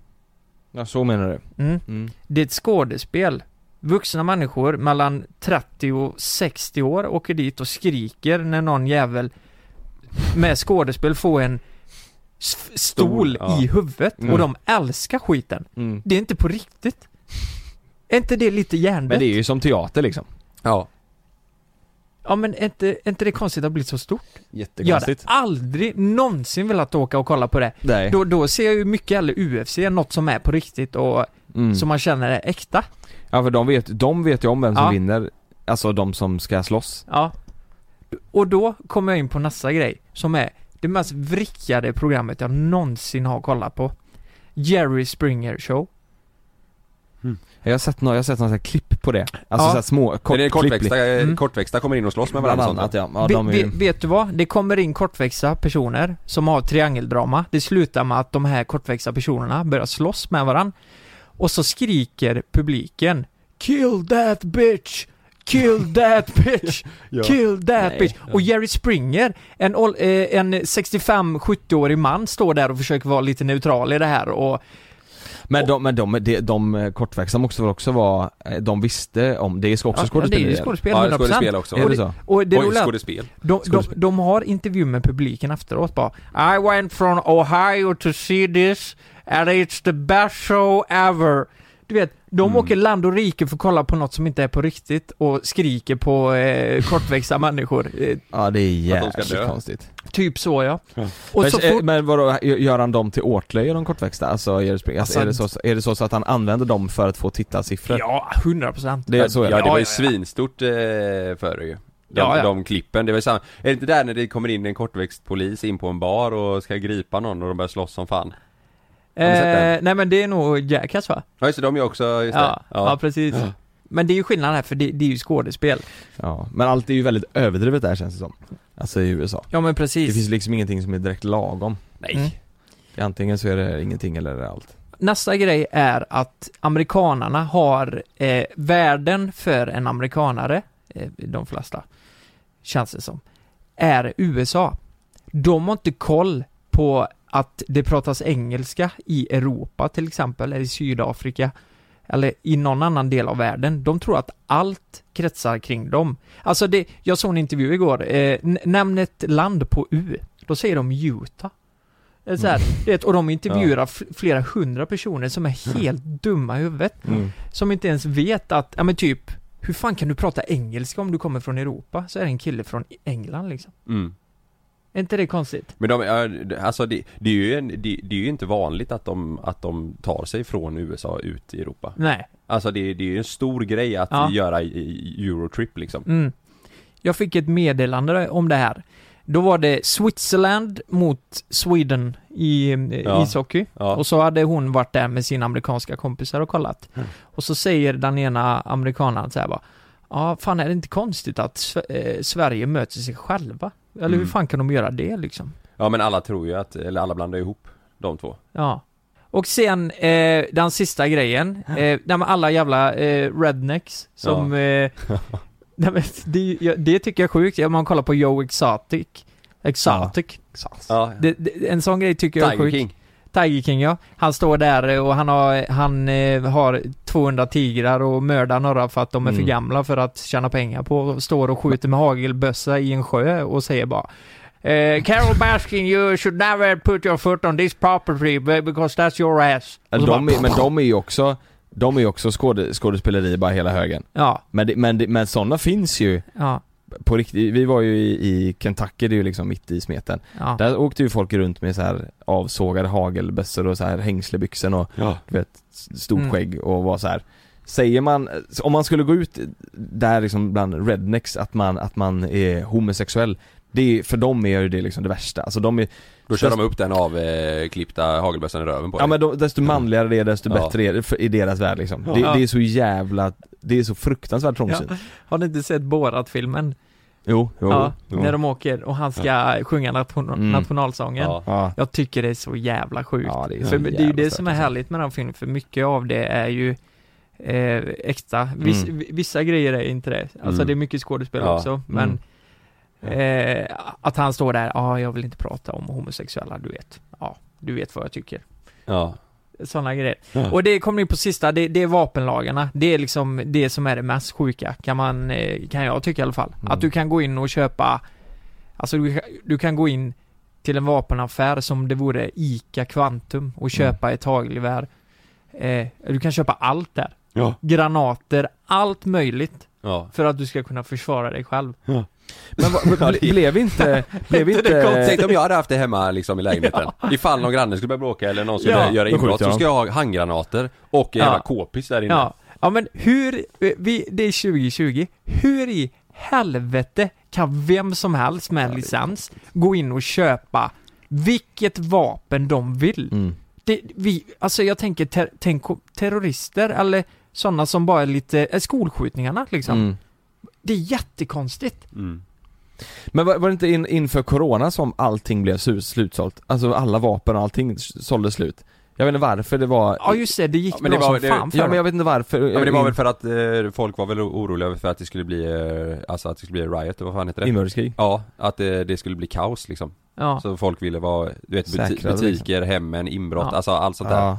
Speaker 3: Ja, så menar du.
Speaker 4: Mm. Det är ett skådespel. Vuxna människor mellan 30 och 60 år åker dit och skriker när någon jävel med skådespel får en s- stol
Speaker 3: ja.
Speaker 4: i huvudet
Speaker 3: Mm.
Speaker 4: och de älskar skiten. Det är inte på riktigt. Är inte det lite hjärndött?
Speaker 3: Men det är ju som teater liksom.
Speaker 2: Ja.
Speaker 4: Ja men är inte, är inte det konstigt att det har blivit så stort? Jag hade
Speaker 3: Jättekonstigt.
Speaker 4: aldrig någonsin velat åka och kolla på det.
Speaker 3: Nej.
Speaker 4: Då, då ser jag ju mycket hellre UFC, något som är på riktigt och
Speaker 3: Mm.
Speaker 4: som man känner är äkta.
Speaker 3: Ja för de vet, de vet ju om vem som
Speaker 4: Ja.
Speaker 3: vinner, alltså de som ska slåss.
Speaker 4: Ja. Och då kommer jag in på nästa grej, som är det mest vrickade programmet jag någonsin har kollat på. Jerry Springer Show.
Speaker 3: Jag har sett några, jag har sett några så här klipp på det. Alltså
Speaker 4: Ja.
Speaker 3: så här små, kort,
Speaker 2: Men det är kortväxta,
Speaker 3: klipp.
Speaker 2: eh, kortväxta kommer in och slåss med varandra
Speaker 3: Mm. Bland
Speaker 2: och sånt.
Speaker 3: annat, ja.
Speaker 4: Ve- ve- Vet du vad? Det kommer in kortväxta personer som har triangeldrama. Det slutar med att de här kortväxta personerna börjar slåss med varandra. Och så skriker publiken Kill that bitch! Kill that bitch!
Speaker 8: Ja.
Speaker 4: Kill that
Speaker 8: Nej.
Speaker 4: bitch! Och Jerry Springer, en, ål- eh, en 65-70-årig man, står där och försöker vara lite neutral i det här och
Speaker 3: Men de, men de, de, de eh, kortväxta måste väl också vara, eh, de visste om, det är också skådespel
Speaker 4: Ja, det är ju skådespel, 100%.
Speaker 3: Är det
Speaker 4: Och det,
Speaker 3: så?
Speaker 4: och det
Speaker 3: Oj,
Speaker 4: roliga är att
Speaker 3: skådespel.
Speaker 4: De, de,
Speaker 3: Skådespel.
Speaker 4: de har intervju med publiken efteråt bara I went from Ohio to see this and it's the best show ever. Du vet, de åker land och rike för att kolla på något som inte är på riktigt och skriker på eh, kortväxta människor. Eh,
Speaker 3: Ja det är
Speaker 4: Att de ska dö.
Speaker 3: jävligt konstigt.
Speaker 4: typ så ja. Och
Speaker 3: men,
Speaker 4: så
Speaker 3: eh,
Speaker 4: fort-
Speaker 3: men vadå, gör han dem till åtlöje de kortväxta? Alltså, Jerry Springer, alltså,
Speaker 4: Alltså,
Speaker 3: är, det så, är det så, så att han använder dem för att få tittarsiffror?
Speaker 4: Ja, 100 procent.
Speaker 3: Det är så
Speaker 2: ja,
Speaker 3: är
Speaker 2: det
Speaker 3: det.
Speaker 2: var ju
Speaker 3: Ja, ja, ja.
Speaker 2: svinstort eh, förr ju de,
Speaker 3: Ja, ja.
Speaker 2: de klippen, det var ju samma, är det inte där när det kommer in en kortväxt polis in på en bar och ska gripa någon och de börjar slåss som fan? Har ni sett den?
Speaker 4: Eh, nej men det är nog Jackass va?
Speaker 2: Ja just det, de gör också, just det.
Speaker 4: Ja, ja. precis. Men det är ju skillnad här för det, det är ju skådespel.
Speaker 3: Ja, men allt är ju väldigt överdrivet där känns det som. Alltså i USA.
Speaker 4: Ja men precis.
Speaker 3: Det finns liksom ingenting som är direkt lagom.
Speaker 2: Nej.
Speaker 3: Antingen så är det ingenting eller är det allt.
Speaker 4: Nästa grej är att amerikanarna har eh, värden för en amerikanare, eh, de flesta, känns det som, är USA. De har inte koll på att det pratas engelska i Europa till exempel, eller i Sydafrika, eller i någon annan del av världen. De tror att allt kretsar kring dem. Alltså det, jag såg en intervju igår, eh, n- nämn ett land på U, då säger de Utah. Det är Så här, du vet, och de intervjuar f- flera hundra personer som är helt dumma i huvudet.
Speaker 3: Mm.
Speaker 4: Som inte ens vet att, ja men typ, hur fan kan du prata engelska om du kommer från Europa? Så är det en kille från England liksom.
Speaker 2: Mm.
Speaker 4: Är inte det konstigt?
Speaker 2: Men de, ja, alltså det, det, är ju en, det, det är ju inte vanligt att de, att de tar sig från USA ut i Europa
Speaker 4: Nej.
Speaker 2: Alltså det, det är ju en stor grej att
Speaker 4: Ja.
Speaker 2: göra i- i Eurotrip liksom
Speaker 4: Mm. Jag fick ett meddelande om det här. Då var det Switzerland mot Sweden i eh,
Speaker 2: Ja.
Speaker 4: ishockey.
Speaker 2: Ja.
Speaker 4: Och så hade hon varit där med sina amerikanska kompisar och kollat.
Speaker 2: Mm.
Speaker 4: Och så säger den ena amerikanaren så här bara Ja, fan är det inte konstigt att Sve- eh, Sverige möter sig själva? Eller hur
Speaker 2: Mm.
Speaker 4: fan kan de göra det liksom?
Speaker 2: Ja men alla tror ju att, eller alla blandar ihop de två
Speaker 4: Ja. Och sen eh, den sista grejen, eh, nej, men alla jävla eh, rednecks som... Eh, nej, men det, ja, det tycker jag är sjukt, Ja, man kollar på Joe Exotic. Exotic.
Speaker 3: Alltså,
Speaker 2: Ja.
Speaker 4: Det, det, en sån grej tycker jag är
Speaker 2: Tiger
Speaker 4: sjuk.
Speaker 2: King.
Speaker 4: Tiger King ja. Han står där eh, och han har, han eh, har 200 tigrar och mördar några för att de är för
Speaker 3: Mm.
Speaker 4: gamla för att tjäna pengar på. Och Står och skjuter med hagelbössa i en sjö och säger bara Eh, Carol Baskin, you should never put your foot on this property be- because that's your ass. Och
Speaker 3: Men
Speaker 4: så
Speaker 3: de,
Speaker 4: bara-
Speaker 3: är- men de är ju också, de är ju också skåde, skådespeleri bara hela högen.
Speaker 4: Ja.
Speaker 3: Men, det, men, det, men sådana finns ju
Speaker 4: Ja.
Speaker 3: på riktigt. Vi var ju i, i Kentucky, det är ju liksom mitt i smeten.
Speaker 4: Ja.
Speaker 3: Där åkte ju folk runt med så här avsågade hagelbössor och så här hängslebyxor och du vet, s- stort
Speaker 4: Mm.
Speaker 3: skägg och var så här. Säger man, om man skulle gå ut där liksom bland rednecks att man, att man är homosexuell det är, för dem är ju det liksom det värsta. Alltså de är...
Speaker 2: Då kör de upp den avklippta hagelbössan i röven på
Speaker 3: Ja men då, desto manligare det är, desto
Speaker 2: Ja.
Speaker 3: bättre är det för, i deras värld liksom.
Speaker 4: Ja.
Speaker 3: Det,
Speaker 4: Ja.
Speaker 3: det är så jävla, det är så fruktansvärt trångsynt.
Speaker 4: Ja. Har ni inte sett Borat-filmen?
Speaker 3: Jo, jo,
Speaker 4: ja,
Speaker 3: jo.
Speaker 4: När de åker och han ska
Speaker 3: Ja.
Speaker 4: sjunga nation-
Speaker 3: Mm.
Speaker 4: nationalsången.
Speaker 3: Ja. Ja.
Speaker 4: Jag tycker det är så jävla sjukt.
Speaker 3: det är så
Speaker 4: för det är ju
Speaker 3: jävla alltså.
Speaker 4: det som är härligt med den filmen, för mycket av det är ju eh, äkta. Viss,
Speaker 3: Mm.
Speaker 4: vi- Vissa grejer är inte det. Alltså
Speaker 3: Mm.
Speaker 4: det är mycket skådespel
Speaker 3: Ja. mm.
Speaker 4: också, men eh, att han står där, ja ah, jag vill inte prata om homosexuella, du vet. Ja, du vet vad jag tycker.
Speaker 2: Ja.
Speaker 4: Sådana grejer.
Speaker 2: Ja.
Speaker 4: Och det kommer in på sista, det, det är vapenlagarna. Det är liksom det som är det mest sjuka, kan man, eh, kan jag tycka i alla fall.
Speaker 3: Mm.
Speaker 4: Att du kan gå in och köpa, alltså du, du kan gå in till en vapenaffär som det vore ICA Kvantum
Speaker 2: Mm.
Speaker 4: och köpa ett hagelgevär. Eh, du kan köpa allt där.
Speaker 2: Ja.
Speaker 4: Granater, allt möjligt.
Speaker 2: Ja.
Speaker 4: För att du ska kunna försvara dig själv.
Speaker 2: Ja.
Speaker 3: Men vad- ble- blev inte, blev inte...
Speaker 2: Tänk om jag hade haft det hemma liksom i lägenheten. Ifall någon granne skulle börja bråka eller någon skulle
Speaker 4: Ja.
Speaker 2: göra
Speaker 4: Då skjuter
Speaker 2: inbrott så
Speaker 4: jag
Speaker 2: ska jag ha handgranater och en
Speaker 4: Ja.
Speaker 2: jävla k-pis där inne.
Speaker 4: Ja. ja, men hur, eh, vi, det är 2020, hur i helvete kan vem som helst med en licens gå in och köpa vilket vapen de vill?
Speaker 2: Mm.
Speaker 3: Mm.
Speaker 4: Det, vi, alltså jag tänker, ter, tänk om terrorister eller sådana som bara är lite, eh, skolskjutningarna liksom.
Speaker 3: Mm.
Speaker 4: Det är jättekonstigt.
Speaker 2: Mm.
Speaker 3: Men var, var det inte in, inför corona som allting blev su- slutsålt? Alltså alla vapen och allting s- sålde slut. Jag vet inte varför det var...
Speaker 4: Ja just det, det gick
Speaker 2: men det
Speaker 4: bra
Speaker 2: var-
Speaker 4: som
Speaker 2: det-
Speaker 4: fan för
Speaker 3: Ja
Speaker 4: dem.
Speaker 3: men jag vet inte varför.
Speaker 2: Ja, men det var väl för att eh, folk var väl oroliga över för att det skulle bli, eh, alltså att det skulle bli riot, vad fan heter det?
Speaker 3: Inbördeskrig?
Speaker 2: Ja, att eh, det skulle bli kaos liksom.
Speaker 4: Ja.
Speaker 2: Så folk ville vara, du vet buti-
Speaker 3: Säkrare,
Speaker 2: butiker,
Speaker 3: liksom.
Speaker 2: hemmen, inbrott,
Speaker 3: Ja.
Speaker 2: alltså allt sånt där.
Speaker 3: Ja.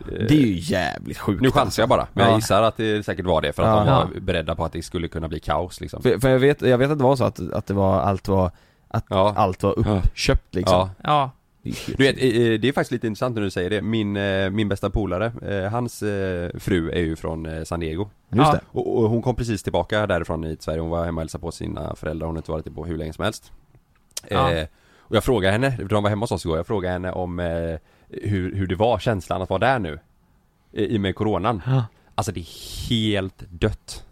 Speaker 2: Eh,
Speaker 3: Det är ju jävligt sjukt.
Speaker 2: Nu chansar jag bara, men jag
Speaker 3: Ja.
Speaker 2: gissar att det säkert var det för att
Speaker 3: Ja.
Speaker 2: de var beredda på att det skulle kunna bli kaos liksom.
Speaker 3: För, för jag, vet, jag vet att det var så att, att det var, allt var, att allt var uppköpt liksom.
Speaker 2: Ja.
Speaker 4: Ja.
Speaker 2: Du vet, eh, eh, det är faktiskt lite intressant när du säger det. Min, eh, min bästa polare, eh, hans eh, fru är ju från eh, San Diego.
Speaker 3: Just det.
Speaker 2: Och, och hon kom precis tillbaka därifrån hit till Sverige. Hon var hemma och hälsade på sina föräldrar. Hon har inte varit på hur länge som helst.
Speaker 3: Ja.
Speaker 2: Eh, och jag frågade henne, för de var hemma hos oss igår. Jag frågade henne om eh, hur, hur det var, känslan att vara där nu. eh, I och med coronan.
Speaker 4: Ja.
Speaker 2: Alltså det är helt dött.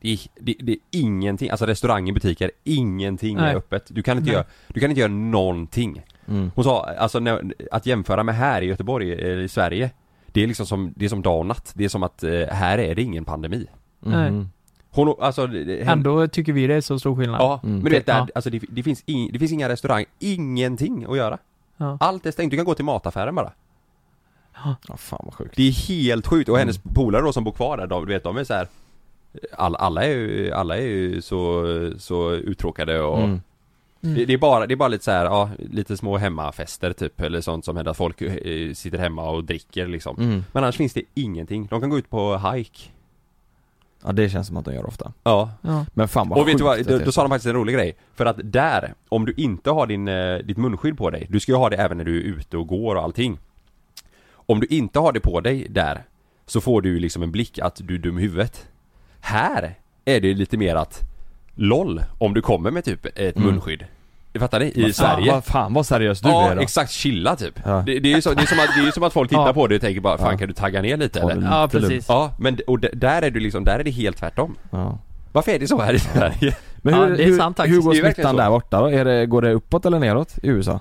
Speaker 2: Det är, det, det är ingenting, alltså restauranger, butiker, ingenting
Speaker 4: Nej.
Speaker 2: är öppet. Du kan inte,
Speaker 4: Nej.
Speaker 2: göra, du kan inte göra någonting.
Speaker 3: Mm.
Speaker 2: Hon sa, alltså när, att jämföra med här i Göteborg, eller i Sverige Det är liksom som, det är som dag och natt Det är som att eh, här är det ingen pandemi
Speaker 4: Nej.
Speaker 3: mm.
Speaker 2: Hon, alltså det- det- hen-
Speaker 4: Ändå tycker vi det är så stor skillnad.
Speaker 2: Ja, men du vet där,
Speaker 4: Ja.
Speaker 2: alltså det, det, finns ing, det finns inga restaurang, ingenting att göra
Speaker 4: Ja.
Speaker 2: Allt är stängt, du kan gå till mataffären bara
Speaker 3: Ja, fan vad sjukt.
Speaker 2: Det är helt sjukt, och
Speaker 3: Mm.
Speaker 2: hennes polare då som bor kvar där, de, du vet de är så här all, Alla är ju, alla är ju så, så uttråkade och
Speaker 3: Mm.
Speaker 4: Mm.
Speaker 2: Det, det, är bara, det är bara lite så här, ja, lite små hemmafester typ eller sånt som händer att folk eh, sitter hemma och dricker liksom
Speaker 3: Mm.
Speaker 2: Men annars finns det ingenting, de kan gå ut på hike
Speaker 3: Ja det känns som att de gör ofta.
Speaker 2: Ja,
Speaker 4: Ja.
Speaker 3: Men fan vad
Speaker 2: Och vet
Speaker 3: sjukt
Speaker 2: du vad,
Speaker 3: att det
Speaker 2: då,
Speaker 3: är.
Speaker 2: då sa de faktiskt en rolig grej För att där, om du inte har din, eh, ditt munskydd på dig Du ska ju ha det även när du är ute och går och allting Om du inte har det på dig där Så får du ju liksom en blick att du är dum i huvudet Här är det ju lite mer att LOL, om du kommer med typ ett
Speaker 3: Mm.
Speaker 2: munskydd Fattar ni? I
Speaker 3: Vad fan-
Speaker 2: Sverige
Speaker 3: Vad fan vad seriös du
Speaker 2: ja,
Speaker 3: är då.
Speaker 2: exakt, chilla typ.
Speaker 3: Ja.
Speaker 2: Det, det, är ju så, det, är som att, det är ju som att folk tittar
Speaker 3: Ja.
Speaker 2: på det och tänker bara, fan
Speaker 3: Ja.
Speaker 2: kan du tagga ner lite
Speaker 3: Ta det
Speaker 2: eller?
Speaker 3: lite Ja, precis. lugnt.
Speaker 2: Ja, men d- och d- där är du liksom, där är det helt tvärtom.
Speaker 3: Ja.
Speaker 2: Varför är det så här i Sverige?
Speaker 3: Men hur, hur, hur går smittan där
Speaker 2: borta?
Speaker 3: borta då? Är det, går det uppåt eller neråt i USA?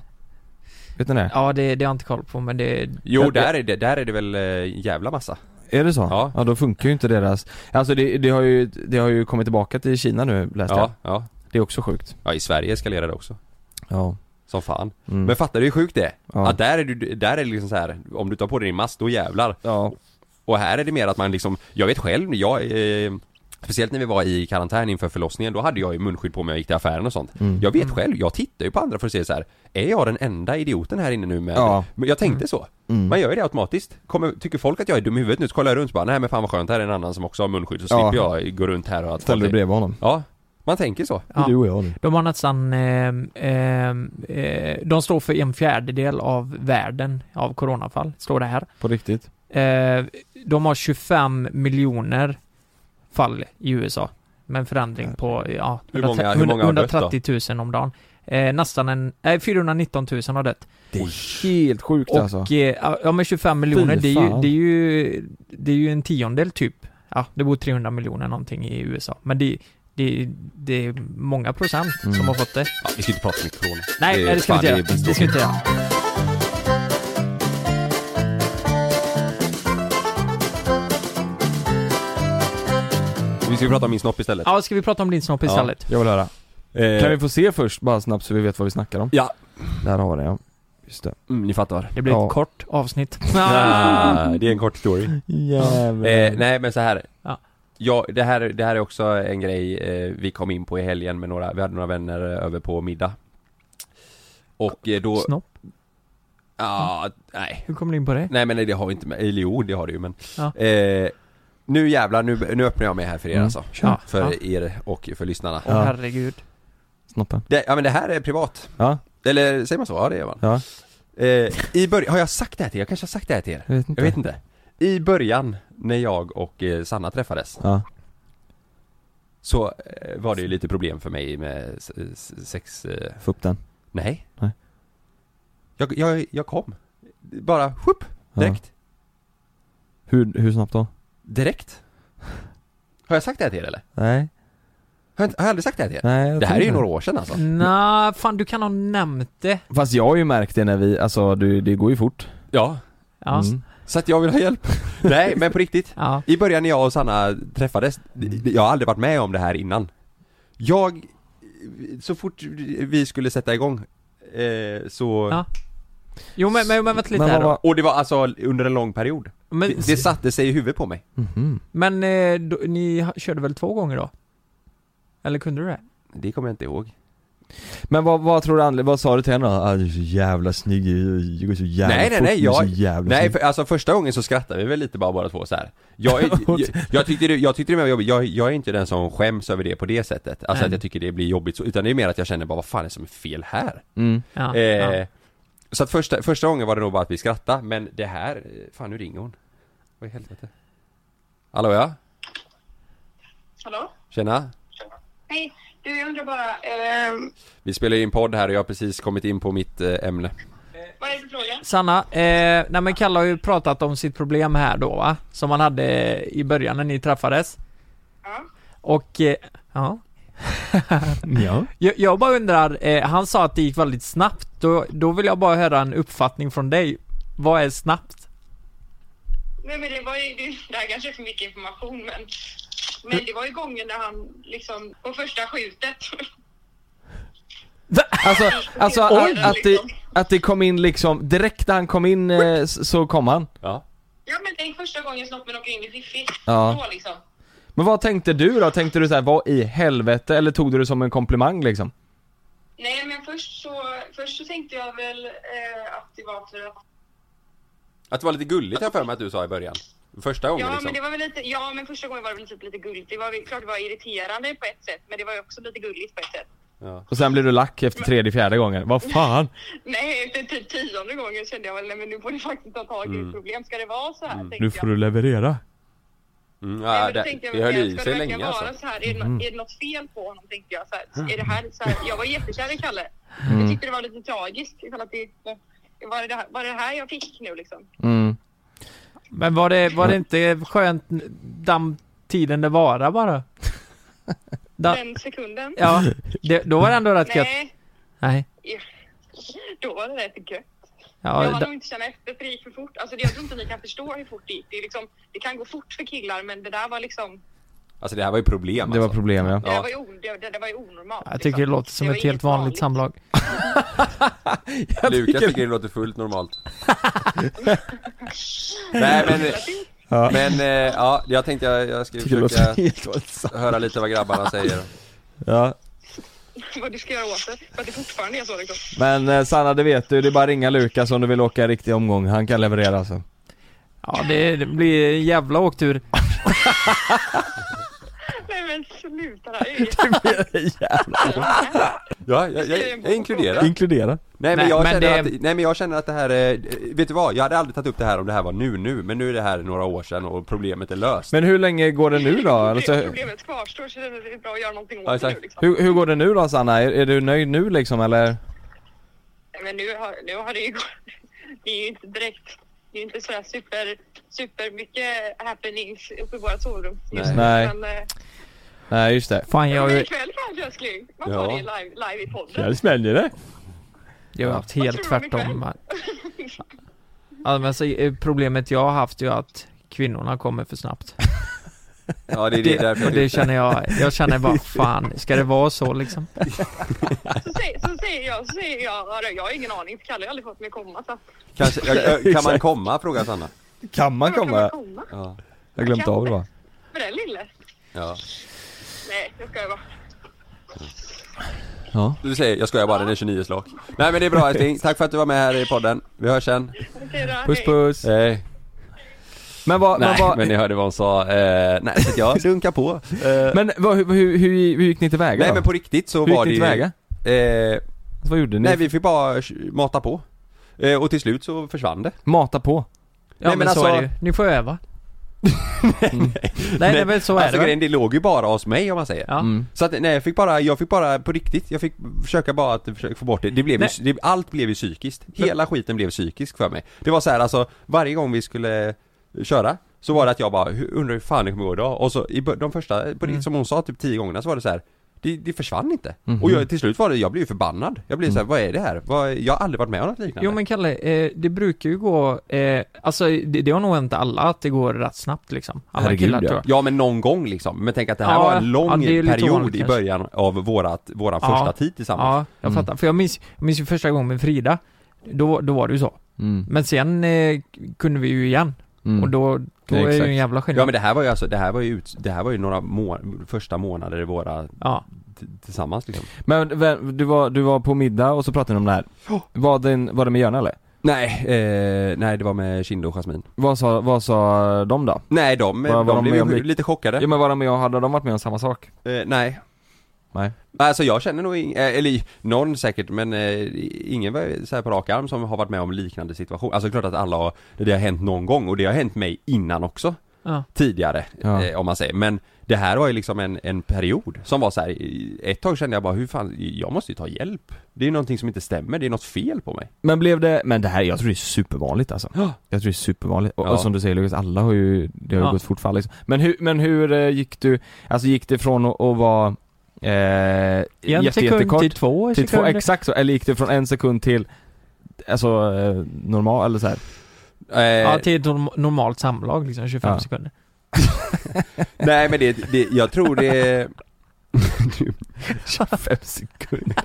Speaker 3: Vet ni det?
Speaker 4: Ja, det, det har jag inte koll på men det...
Speaker 2: Jo, där är det, där är det väl eh, jävla massa.
Speaker 3: Är det så? Ja. ja då funkar ju inte deras... Alltså det, det, har, ju, det har ju kommit tillbaka till Kina nu läste
Speaker 2: Ja,
Speaker 3: jag.
Speaker 2: ja.
Speaker 3: Det är också sjukt.
Speaker 2: Ja, i Sverige eskalerar det också.
Speaker 3: Ja.
Speaker 2: Som fan.
Speaker 3: Mm.
Speaker 2: Men fattar du hur sjukt det är?
Speaker 3: Ja.
Speaker 2: Att där är du, där är det liksom så här, om du tar på dig din mask, då jävlar. Och här är det mer att man liksom, jag vet själv, jag, eh, speciellt när vi var i karantän inför förlossningen, då hade jag ju munskydd på mig och gick till affären och sånt.
Speaker 3: Mm.
Speaker 2: Jag vet
Speaker 3: Mm.
Speaker 2: själv, jag tittar ju på andra för att se så här. är jag den enda idioten här inne nu med?
Speaker 3: Ja.
Speaker 2: Men jag tänkte så.
Speaker 3: Mm.
Speaker 2: Man gör ju det automatiskt. Kommer, tycker folk att jag är dum i huvudet nu så kollar jag runt och bara, nej men fan vad skönt, här är en annan som också har munskydd så
Speaker 3: Ja.
Speaker 2: slipper jag gå runt här och att
Speaker 3: Ställer dig
Speaker 2: folk-
Speaker 3: bredvid honom.
Speaker 2: Ja. Man tänker så.
Speaker 4: Ja. Du
Speaker 3: och jag nu.
Speaker 4: De har nästan, eh, eh, eh, de står för en fjärdedel av världen av coronafall, står det här.
Speaker 3: På riktigt.
Speaker 4: Eh, de har 25 miljoner fall i USA. Med en förändring på, ja,
Speaker 2: Hur många- hur många har dött då?
Speaker 4: 130 000 om dagen. Eh, nästan en, nej 419 000 har dött.
Speaker 3: Det är helt sjukt
Speaker 4: Och,
Speaker 3: alltså.
Speaker 4: eh, ja men 25 miljoner,
Speaker 3: Fy
Speaker 4: det är, ju,
Speaker 3: fan.
Speaker 4: det, är ju, det är ju en tiondel typ. Ja, det bor 300 miljoner någonting i USA. Men det, det, det är många procent
Speaker 2: Mm.
Speaker 4: som har fått det.
Speaker 2: Ja, vi ska inte prata mycket corona. Eh,
Speaker 4: Nej, nej, det ska vi inte
Speaker 2: fan,
Speaker 4: göra.
Speaker 2: är
Speaker 4: Det ska vi inte göra.
Speaker 2: Vi ska prata om min snopp istället.
Speaker 4: Ja, ska vi prata om din snopp istället?
Speaker 3: Jag vill höra.
Speaker 2: Eh,
Speaker 3: Kan vi få se först bara snabbt så vi vet vad vi snackar om?
Speaker 2: Ja.
Speaker 3: Där har vi det ja. Just det.
Speaker 2: Mm, ni fattar.
Speaker 4: Det blir
Speaker 3: Ja.
Speaker 4: ett kort avsnitt.
Speaker 2: Ah, det är en kort story.
Speaker 3: Jävlar.
Speaker 2: Eh, nej men så här.
Speaker 4: Ja.
Speaker 2: Ja, det här, det här är också en grej eh, vi kom in på i helgen med några, vi hade några vänner eh, över på middag. Och eh, då...
Speaker 4: Snopp?
Speaker 2: Ja, nej.
Speaker 4: Hur kom du in på det?
Speaker 2: Nej men nej, det har vi inte med, eller jo det har det ju men.
Speaker 4: Ja.
Speaker 2: Eh, nu jävlar, nu, nu öppnar jag mig här för er
Speaker 3: Mm.
Speaker 2: alltså.
Speaker 3: Kör.
Speaker 2: För
Speaker 3: Ja.
Speaker 2: er och för lyssnarna.
Speaker 4: Åh herregud.
Speaker 3: Snoppen.
Speaker 2: Det, ja men det här är privat.
Speaker 3: Ja.
Speaker 2: Eller säger man så? Ja det gör man.
Speaker 3: Ja.
Speaker 2: Eh, I början, har jag sagt det här till er? Jag kanske har sagt det här till er?
Speaker 3: Jag vet inte.
Speaker 2: Jag vet inte. I början, när jag och eh, Sanna träffades
Speaker 3: Ja.
Speaker 2: Så eh, var det ju lite problem för mig med s- s- sex... Eh,
Speaker 3: Få upp den.
Speaker 2: nej.
Speaker 3: Nej.
Speaker 2: Jag, jag, jag kom. Bara, whoop, direkt.
Speaker 3: Hur, hur snabbt då?
Speaker 2: Direkt. Har jag sagt det här till er eller?
Speaker 3: Nej.
Speaker 2: Har jag, inte- har jag aldrig sagt det här till er?
Speaker 3: Nej, jag
Speaker 2: det här
Speaker 3: tror
Speaker 2: är ju
Speaker 3: inte.
Speaker 2: några år sedan alltså.
Speaker 4: Nej, fan du kan ha nämnt det.
Speaker 3: Fast jag har ju märkt det när vi, alltså det, det går ju fort.
Speaker 2: Ja.
Speaker 4: Ja.
Speaker 2: Så att jag vill ha hjälp. Nej, men på riktigt.
Speaker 4: Ja.
Speaker 2: I början när jag och Sanna träffades, d- jag har aldrig varit med om det här innan. Jag, så fort vi skulle sätta igång, eh, så...
Speaker 4: Ja. Jo men, men, men vänta lite här då.
Speaker 2: Och det var alltså under en lång period.
Speaker 4: Men-
Speaker 2: det, det satte sig i huvudet på mig.
Speaker 4: Men eh, då, ni ha- körde väl två gånger då? Eller kunde du det?
Speaker 2: Det kommer jag inte ihåg.
Speaker 3: Men vad, vad tror du anled- vad sa du till henne då? Ah, du är så jävla snygg, du går så jävla
Speaker 2: nej, nej,
Speaker 3: fort,
Speaker 2: nej,
Speaker 3: du är så
Speaker 2: jag,
Speaker 3: jävla
Speaker 2: nej
Speaker 3: snygg.
Speaker 2: för, alltså första gången så skrattade vi väl lite bara båda två så här. Jag, är- jag, jag, tyckte det, jag tyckte det var jobbigt, jag, jag är inte den som skäms över det på det sättet Alltså
Speaker 3: Nej.
Speaker 2: att jag tycker det blir jobbigt så, utan det är mer att jag känner bara vad fan är det som är fel här?
Speaker 3: Mm.
Speaker 4: Ja,
Speaker 2: eh,
Speaker 4: Ah, ja.
Speaker 2: Så att första, första gången var det nog bara att vi skrattade, men det här, eh, fan nu ringer hon Vad i helvete? Hallå ja?
Speaker 9: Hallå?
Speaker 2: Tjena?
Speaker 9: Hej, du jag undrar bara, eh,
Speaker 2: Vi spelar ju in podd här och jag har precis kommit in på mitt eh, ämne
Speaker 9: vad är det för fråga?
Speaker 4: Sanna, eh, nej men Kalle har ju pratat om sitt problem här då va? Som han hade i början när ni träffades. Och, eh, ja.
Speaker 3: Ja.
Speaker 4: Jag, jag bara undrar, eh, han sa att det gick väldigt snabbt. Då, då vill jag bara höra en uppfattning från dig. Vad är snabbt?
Speaker 9: Nej men det var ju, det, det här kanske är för mycket information men, men det var ju gången när han liksom, på första skjutet.
Speaker 3: Alltså, alltså
Speaker 9: Oj.
Speaker 3: att, att, det, att det kom in liksom, direkt när han kom in eh, s- så kom han.
Speaker 2: Ja.
Speaker 9: ja men tänk första gången snoppen åker in i Fiffi.
Speaker 3: Ja.
Speaker 9: Då liksom.
Speaker 3: Men vad tänkte du då? Tänkte du så här, vad i helvete? Eller tog du det som en komplimang liksom?
Speaker 9: Nej men först så, först så tänkte jag väl eh, att det var för att
Speaker 2: Att det var lite gulligt har jag för mig att du sa i början Första gången
Speaker 9: Ja,
Speaker 2: liksom
Speaker 9: men det var väl lite, ja, men första gången var det väl typ lite gulligt. Det var väl, klart det var irriterande på ett sätt, men det var ju också lite gulligt på ett sätt.
Speaker 3: Och sen blev du lack efter tredje, fjärde gången. Vad fan?
Speaker 9: Nej, efter typ tionde gången kände jag väl, nej men nu får du faktiskt ta tag i
Speaker 3: Mm.
Speaker 9: ett problem. Ska det vara så här? tänkte
Speaker 3: Nu får du leverera.
Speaker 2: Mm,
Speaker 9: Nej,
Speaker 2: ja,
Speaker 9: men då
Speaker 2: det,
Speaker 9: tänkte jag
Speaker 2: det
Speaker 9: väl
Speaker 2: höll
Speaker 9: mer,
Speaker 2: i
Speaker 9: ska
Speaker 2: sig
Speaker 9: det verkligen
Speaker 2: länge
Speaker 9: vara
Speaker 2: alltså.
Speaker 9: så här? Är det, nå-
Speaker 3: Mm.
Speaker 9: är det något fel på honom tänkte jag. Så
Speaker 2: Mm.
Speaker 9: här, är det här, så här? Jag var jättekär i Kalle.
Speaker 3: Mm.
Speaker 9: Jag tyckte det var lite tragiskt. Ifall att det, var, det det här, var det här jag fick nu liksom?
Speaker 3: Mm.
Speaker 4: Men var det, var det inte skönt den tiden det vara bara? Da,
Speaker 9: Den sekunden.
Speaker 4: ja, det, då var det ändå rätt gött.
Speaker 9: Nej,
Speaker 4: Nej.
Speaker 9: då var det rätt gött.
Speaker 4: Ja,
Speaker 9: jag har
Speaker 4: da,
Speaker 9: nog inte känt efter för det gick för fort. Alltså, det- jag tror inte ni kan förstå hur fort det gick. Det, är liksom, det kan gå fort för killar men det där var liksom...
Speaker 2: alltså det här var ju problem
Speaker 3: Det var problem ja.
Speaker 9: Det, där var, ju o, det, det där var ju onormalt.
Speaker 4: jag tycker det låter som ett helt vanligt samlag.
Speaker 2: Lukas tycker det låter fullt normalt Nej men, eh,
Speaker 3: Ja.
Speaker 2: men eh, ja, jag tänkte jag, jag ska
Speaker 3: Tycker det låter helt
Speaker 2: försöka höra lite vad grabbarna säger
Speaker 3: ja.
Speaker 9: Vad du ska göra åt det. För att det fortfarande är så liksom.
Speaker 3: Men eh, Sanna det vet du, det är bara att ringa Lukas om du vill åka en riktig omgång. Han kan leverera alltså.
Speaker 4: Ja, det, det blir en jävla åktur.
Speaker 9: Nej men men sluta där.
Speaker 2: Jävlar. Ja, jag, jag, jag inkluderar.
Speaker 3: Inkludera.
Speaker 2: Nej men,
Speaker 3: Nej,
Speaker 2: jag
Speaker 3: men
Speaker 2: känner
Speaker 3: det-
Speaker 2: att, nej men jag känner att det här, är- vet du vad? Jag hade aldrig tagit upp det här om det här var nu nu, men nu är det här några år sedan och problemet är löst.
Speaker 3: Men hur länge går det nu då? Alltså, hur-
Speaker 9: Problemet kvarstår så det är bra att göra någonting åt
Speaker 3: Ja,
Speaker 9: det
Speaker 3: exakt.
Speaker 9: nu. Liksom.
Speaker 3: hur, hur går det nu då Sanna? Är, är du nöjd nu liksom eller?
Speaker 9: Nej, Men nu har, nu har det ju gått. Det är ju inte direkt. Det är ju inte så här super, super mycket happenings uppe i våra sovrum. just nu,
Speaker 3: Nej.
Speaker 9: Men, eh,
Speaker 3: Nej just det.
Speaker 4: Fan
Speaker 9: men
Speaker 4: jag...
Speaker 9: ikväll kanske älskling. Vad
Speaker 4: Ja.
Speaker 9: sa ni live, live i podden?
Speaker 3: Ikväll smäller det.
Speaker 4: Jag har haft helt
Speaker 9: Vad tror du om
Speaker 4: tvärtom här. Ja, men så, eh, problemet jag har haft är ju att kvinnorna kommer för snabbt.
Speaker 2: Ja, det är det därför
Speaker 4: och
Speaker 2: jag
Speaker 4: det
Speaker 2: tyckte-
Speaker 4: känner jag, jag känner bara fan, ska det vara så liksom?
Speaker 9: Så säger, så säger jag, så säger jag, ja, jag har ingen aning. för Kalle har aldrig fått mig komma. Så.
Speaker 2: Kanske, jag, jag, kan man
Speaker 3: Exakt.
Speaker 2: komma? Frågar Sanna.
Speaker 3: Kan man komma?
Speaker 9: komma?
Speaker 2: Ja.
Speaker 3: Jag glömde av det va?
Speaker 9: För den lille.
Speaker 2: Ja.
Speaker 9: Nej, jag skojar bara.
Speaker 3: Ja.
Speaker 2: Du säger, jag skojar bara, den är 29 slak. Nej men det är bra älskling, tack för att du var med här i podden. Vi hörs sen.
Speaker 9: Okej då,
Speaker 3: Puss puss.
Speaker 2: Hej.
Speaker 3: Eh, Men vad,
Speaker 2: Eh, Nej,
Speaker 3: vad, vad,
Speaker 2: men ni hörde vad hon sa. Eh, nej, så att jag dunkar på. Eh,
Speaker 3: Men vad, hur, hur, hur hur gick ni tillväga
Speaker 2: nej
Speaker 3: då?
Speaker 2: men på riktigt så
Speaker 3: Hur
Speaker 2: var det
Speaker 3: gick
Speaker 2: ju...
Speaker 3: ni tillväga?
Speaker 2: Eh,
Speaker 3: Vad gjorde ni?
Speaker 2: Nej vi fick bara sh- mata på. Eh, och till slut så försvann det. alltså-
Speaker 3: Mata på.
Speaker 4: Ja men, så är det ju. Ni får öva. Mm. nej, nej men så är
Speaker 2: alltså,
Speaker 4: det.
Speaker 2: grejen, det låg ju bara hos mig om man säger.
Speaker 4: Mm.
Speaker 2: Så att, nej, jag fick bara, jag fick bara på riktigt, jag fick försöka bara att försöka få bort det. det, blev ju,
Speaker 4: Nej.
Speaker 2: det allt blev ju psykiskt. Hela skiten blev psykisk för mig. Det var så här, alltså, varje gång vi skulle köra så var det att jag bara, "Hur- undrar hur fan det kommer gå idag? Och så i bör- de första, på riktigt, som hon sa, typ tio gångerna så var det så här. Det, det försvann inte.
Speaker 4: Mm. Mhm. Mm.
Speaker 2: Och jag, till slut var det, jag blev ju förbannad. Jag blev så här, vad är det här? Vad, jag har aldrig varit med om något liknande.
Speaker 4: Jo men Kalle, eh, det brukar ju gå, eh, alltså det, det har nog hänt alla att det går rätt snabbt liksom. Alla killar tror
Speaker 2: ja.
Speaker 4: jag.
Speaker 2: ja men någon gång liksom. Men tänk att det här
Speaker 4: Ja,
Speaker 2: var en
Speaker 4: ja,
Speaker 2: lång
Speaker 4: det är lite
Speaker 2: period
Speaker 4: ovanligt
Speaker 2: i
Speaker 4: kanske.
Speaker 2: början av vårat, våran
Speaker 4: Ja.
Speaker 2: första tid tillsammans.
Speaker 4: Ja, jag
Speaker 3: Mm.
Speaker 4: fattar. För jag minns, jag minns ju första gången med Frida, då, då var det ju så.
Speaker 3: mm,
Speaker 4: Men sen eh, kunde vi ju igen.
Speaker 2: Mm.
Speaker 4: Och då, då är det ju en jävla skillnad.
Speaker 2: Ja men det här var ju alltså, det här var ju, ut, det här var ju några må, första månader i våra t- tillsammans liksom.
Speaker 3: Men vem- du var, du var på middag och så pratade ni om det här. Var det, var det med Jörn eller?
Speaker 2: Nej, eh, nej det var med Kindo och Jasmin.
Speaker 3: Vad sa, vad sa de då?
Speaker 2: Nej de,
Speaker 3: Var- var
Speaker 2: de,
Speaker 3: de
Speaker 2: blev
Speaker 3: med
Speaker 2: ju
Speaker 3: om
Speaker 2: sj-
Speaker 3: lik-
Speaker 2: lite chockade.
Speaker 3: Ja men var de med och, hade de varit med om samma sak?
Speaker 2: Eh, nej.
Speaker 3: Nej.
Speaker 2: Alltså jag känner nog ing- eh, eller någon säkert men eh, ingen var så här på rak arm som har varit med om liknande situation. Alltså klart att alla har, det har hänt någon gång och det har hänt mig innan också.
Speaker 4: Ja.
Speaker 2: tidigare,
Speaker 4: Ja.
Speaker 2: eh, om man säger. Men det här var ju liksom en, en period som var så här. i- ett tag kände jag bara hur fan, jag måste ju ta hjälp. Det är ju någonting som inte stämmer, det är något fel på mig.
Speaker 3: Men blev det, men det här, jag tror det är supervanligt alltså.
Speaker 2: Ja.
Speaker 3: Jag tror det är supervanligt. Och,
Speaker 2: Ja.
Speaker 3: och som du säger Lukas, alla har ju, det har ju
Speaker 2: Ja.
Speaker 3: gått fort för alla liksom. Men hur, men hur eh, gick du, alltså gick det från att, att vara eh,
Speaker 4: sekund
Speaker 3: jätte- jättekort-
Speaker 4: till två
Speaker 3: till två,
Speaker 4: sekunder.
Speaker 3: exakt så, eller gick det från en sekund till, alltså eh, normal, eller så här.
Speaker 2: Eh,
Speaker 4: Ja, till ett norm- normalt samlag liksom, 25
Speaker 2: Ja.
Speaker 4: sekunder.
Speaker 2: Nej men det, det jag tror det...
Speaker 3: 25 sekunder.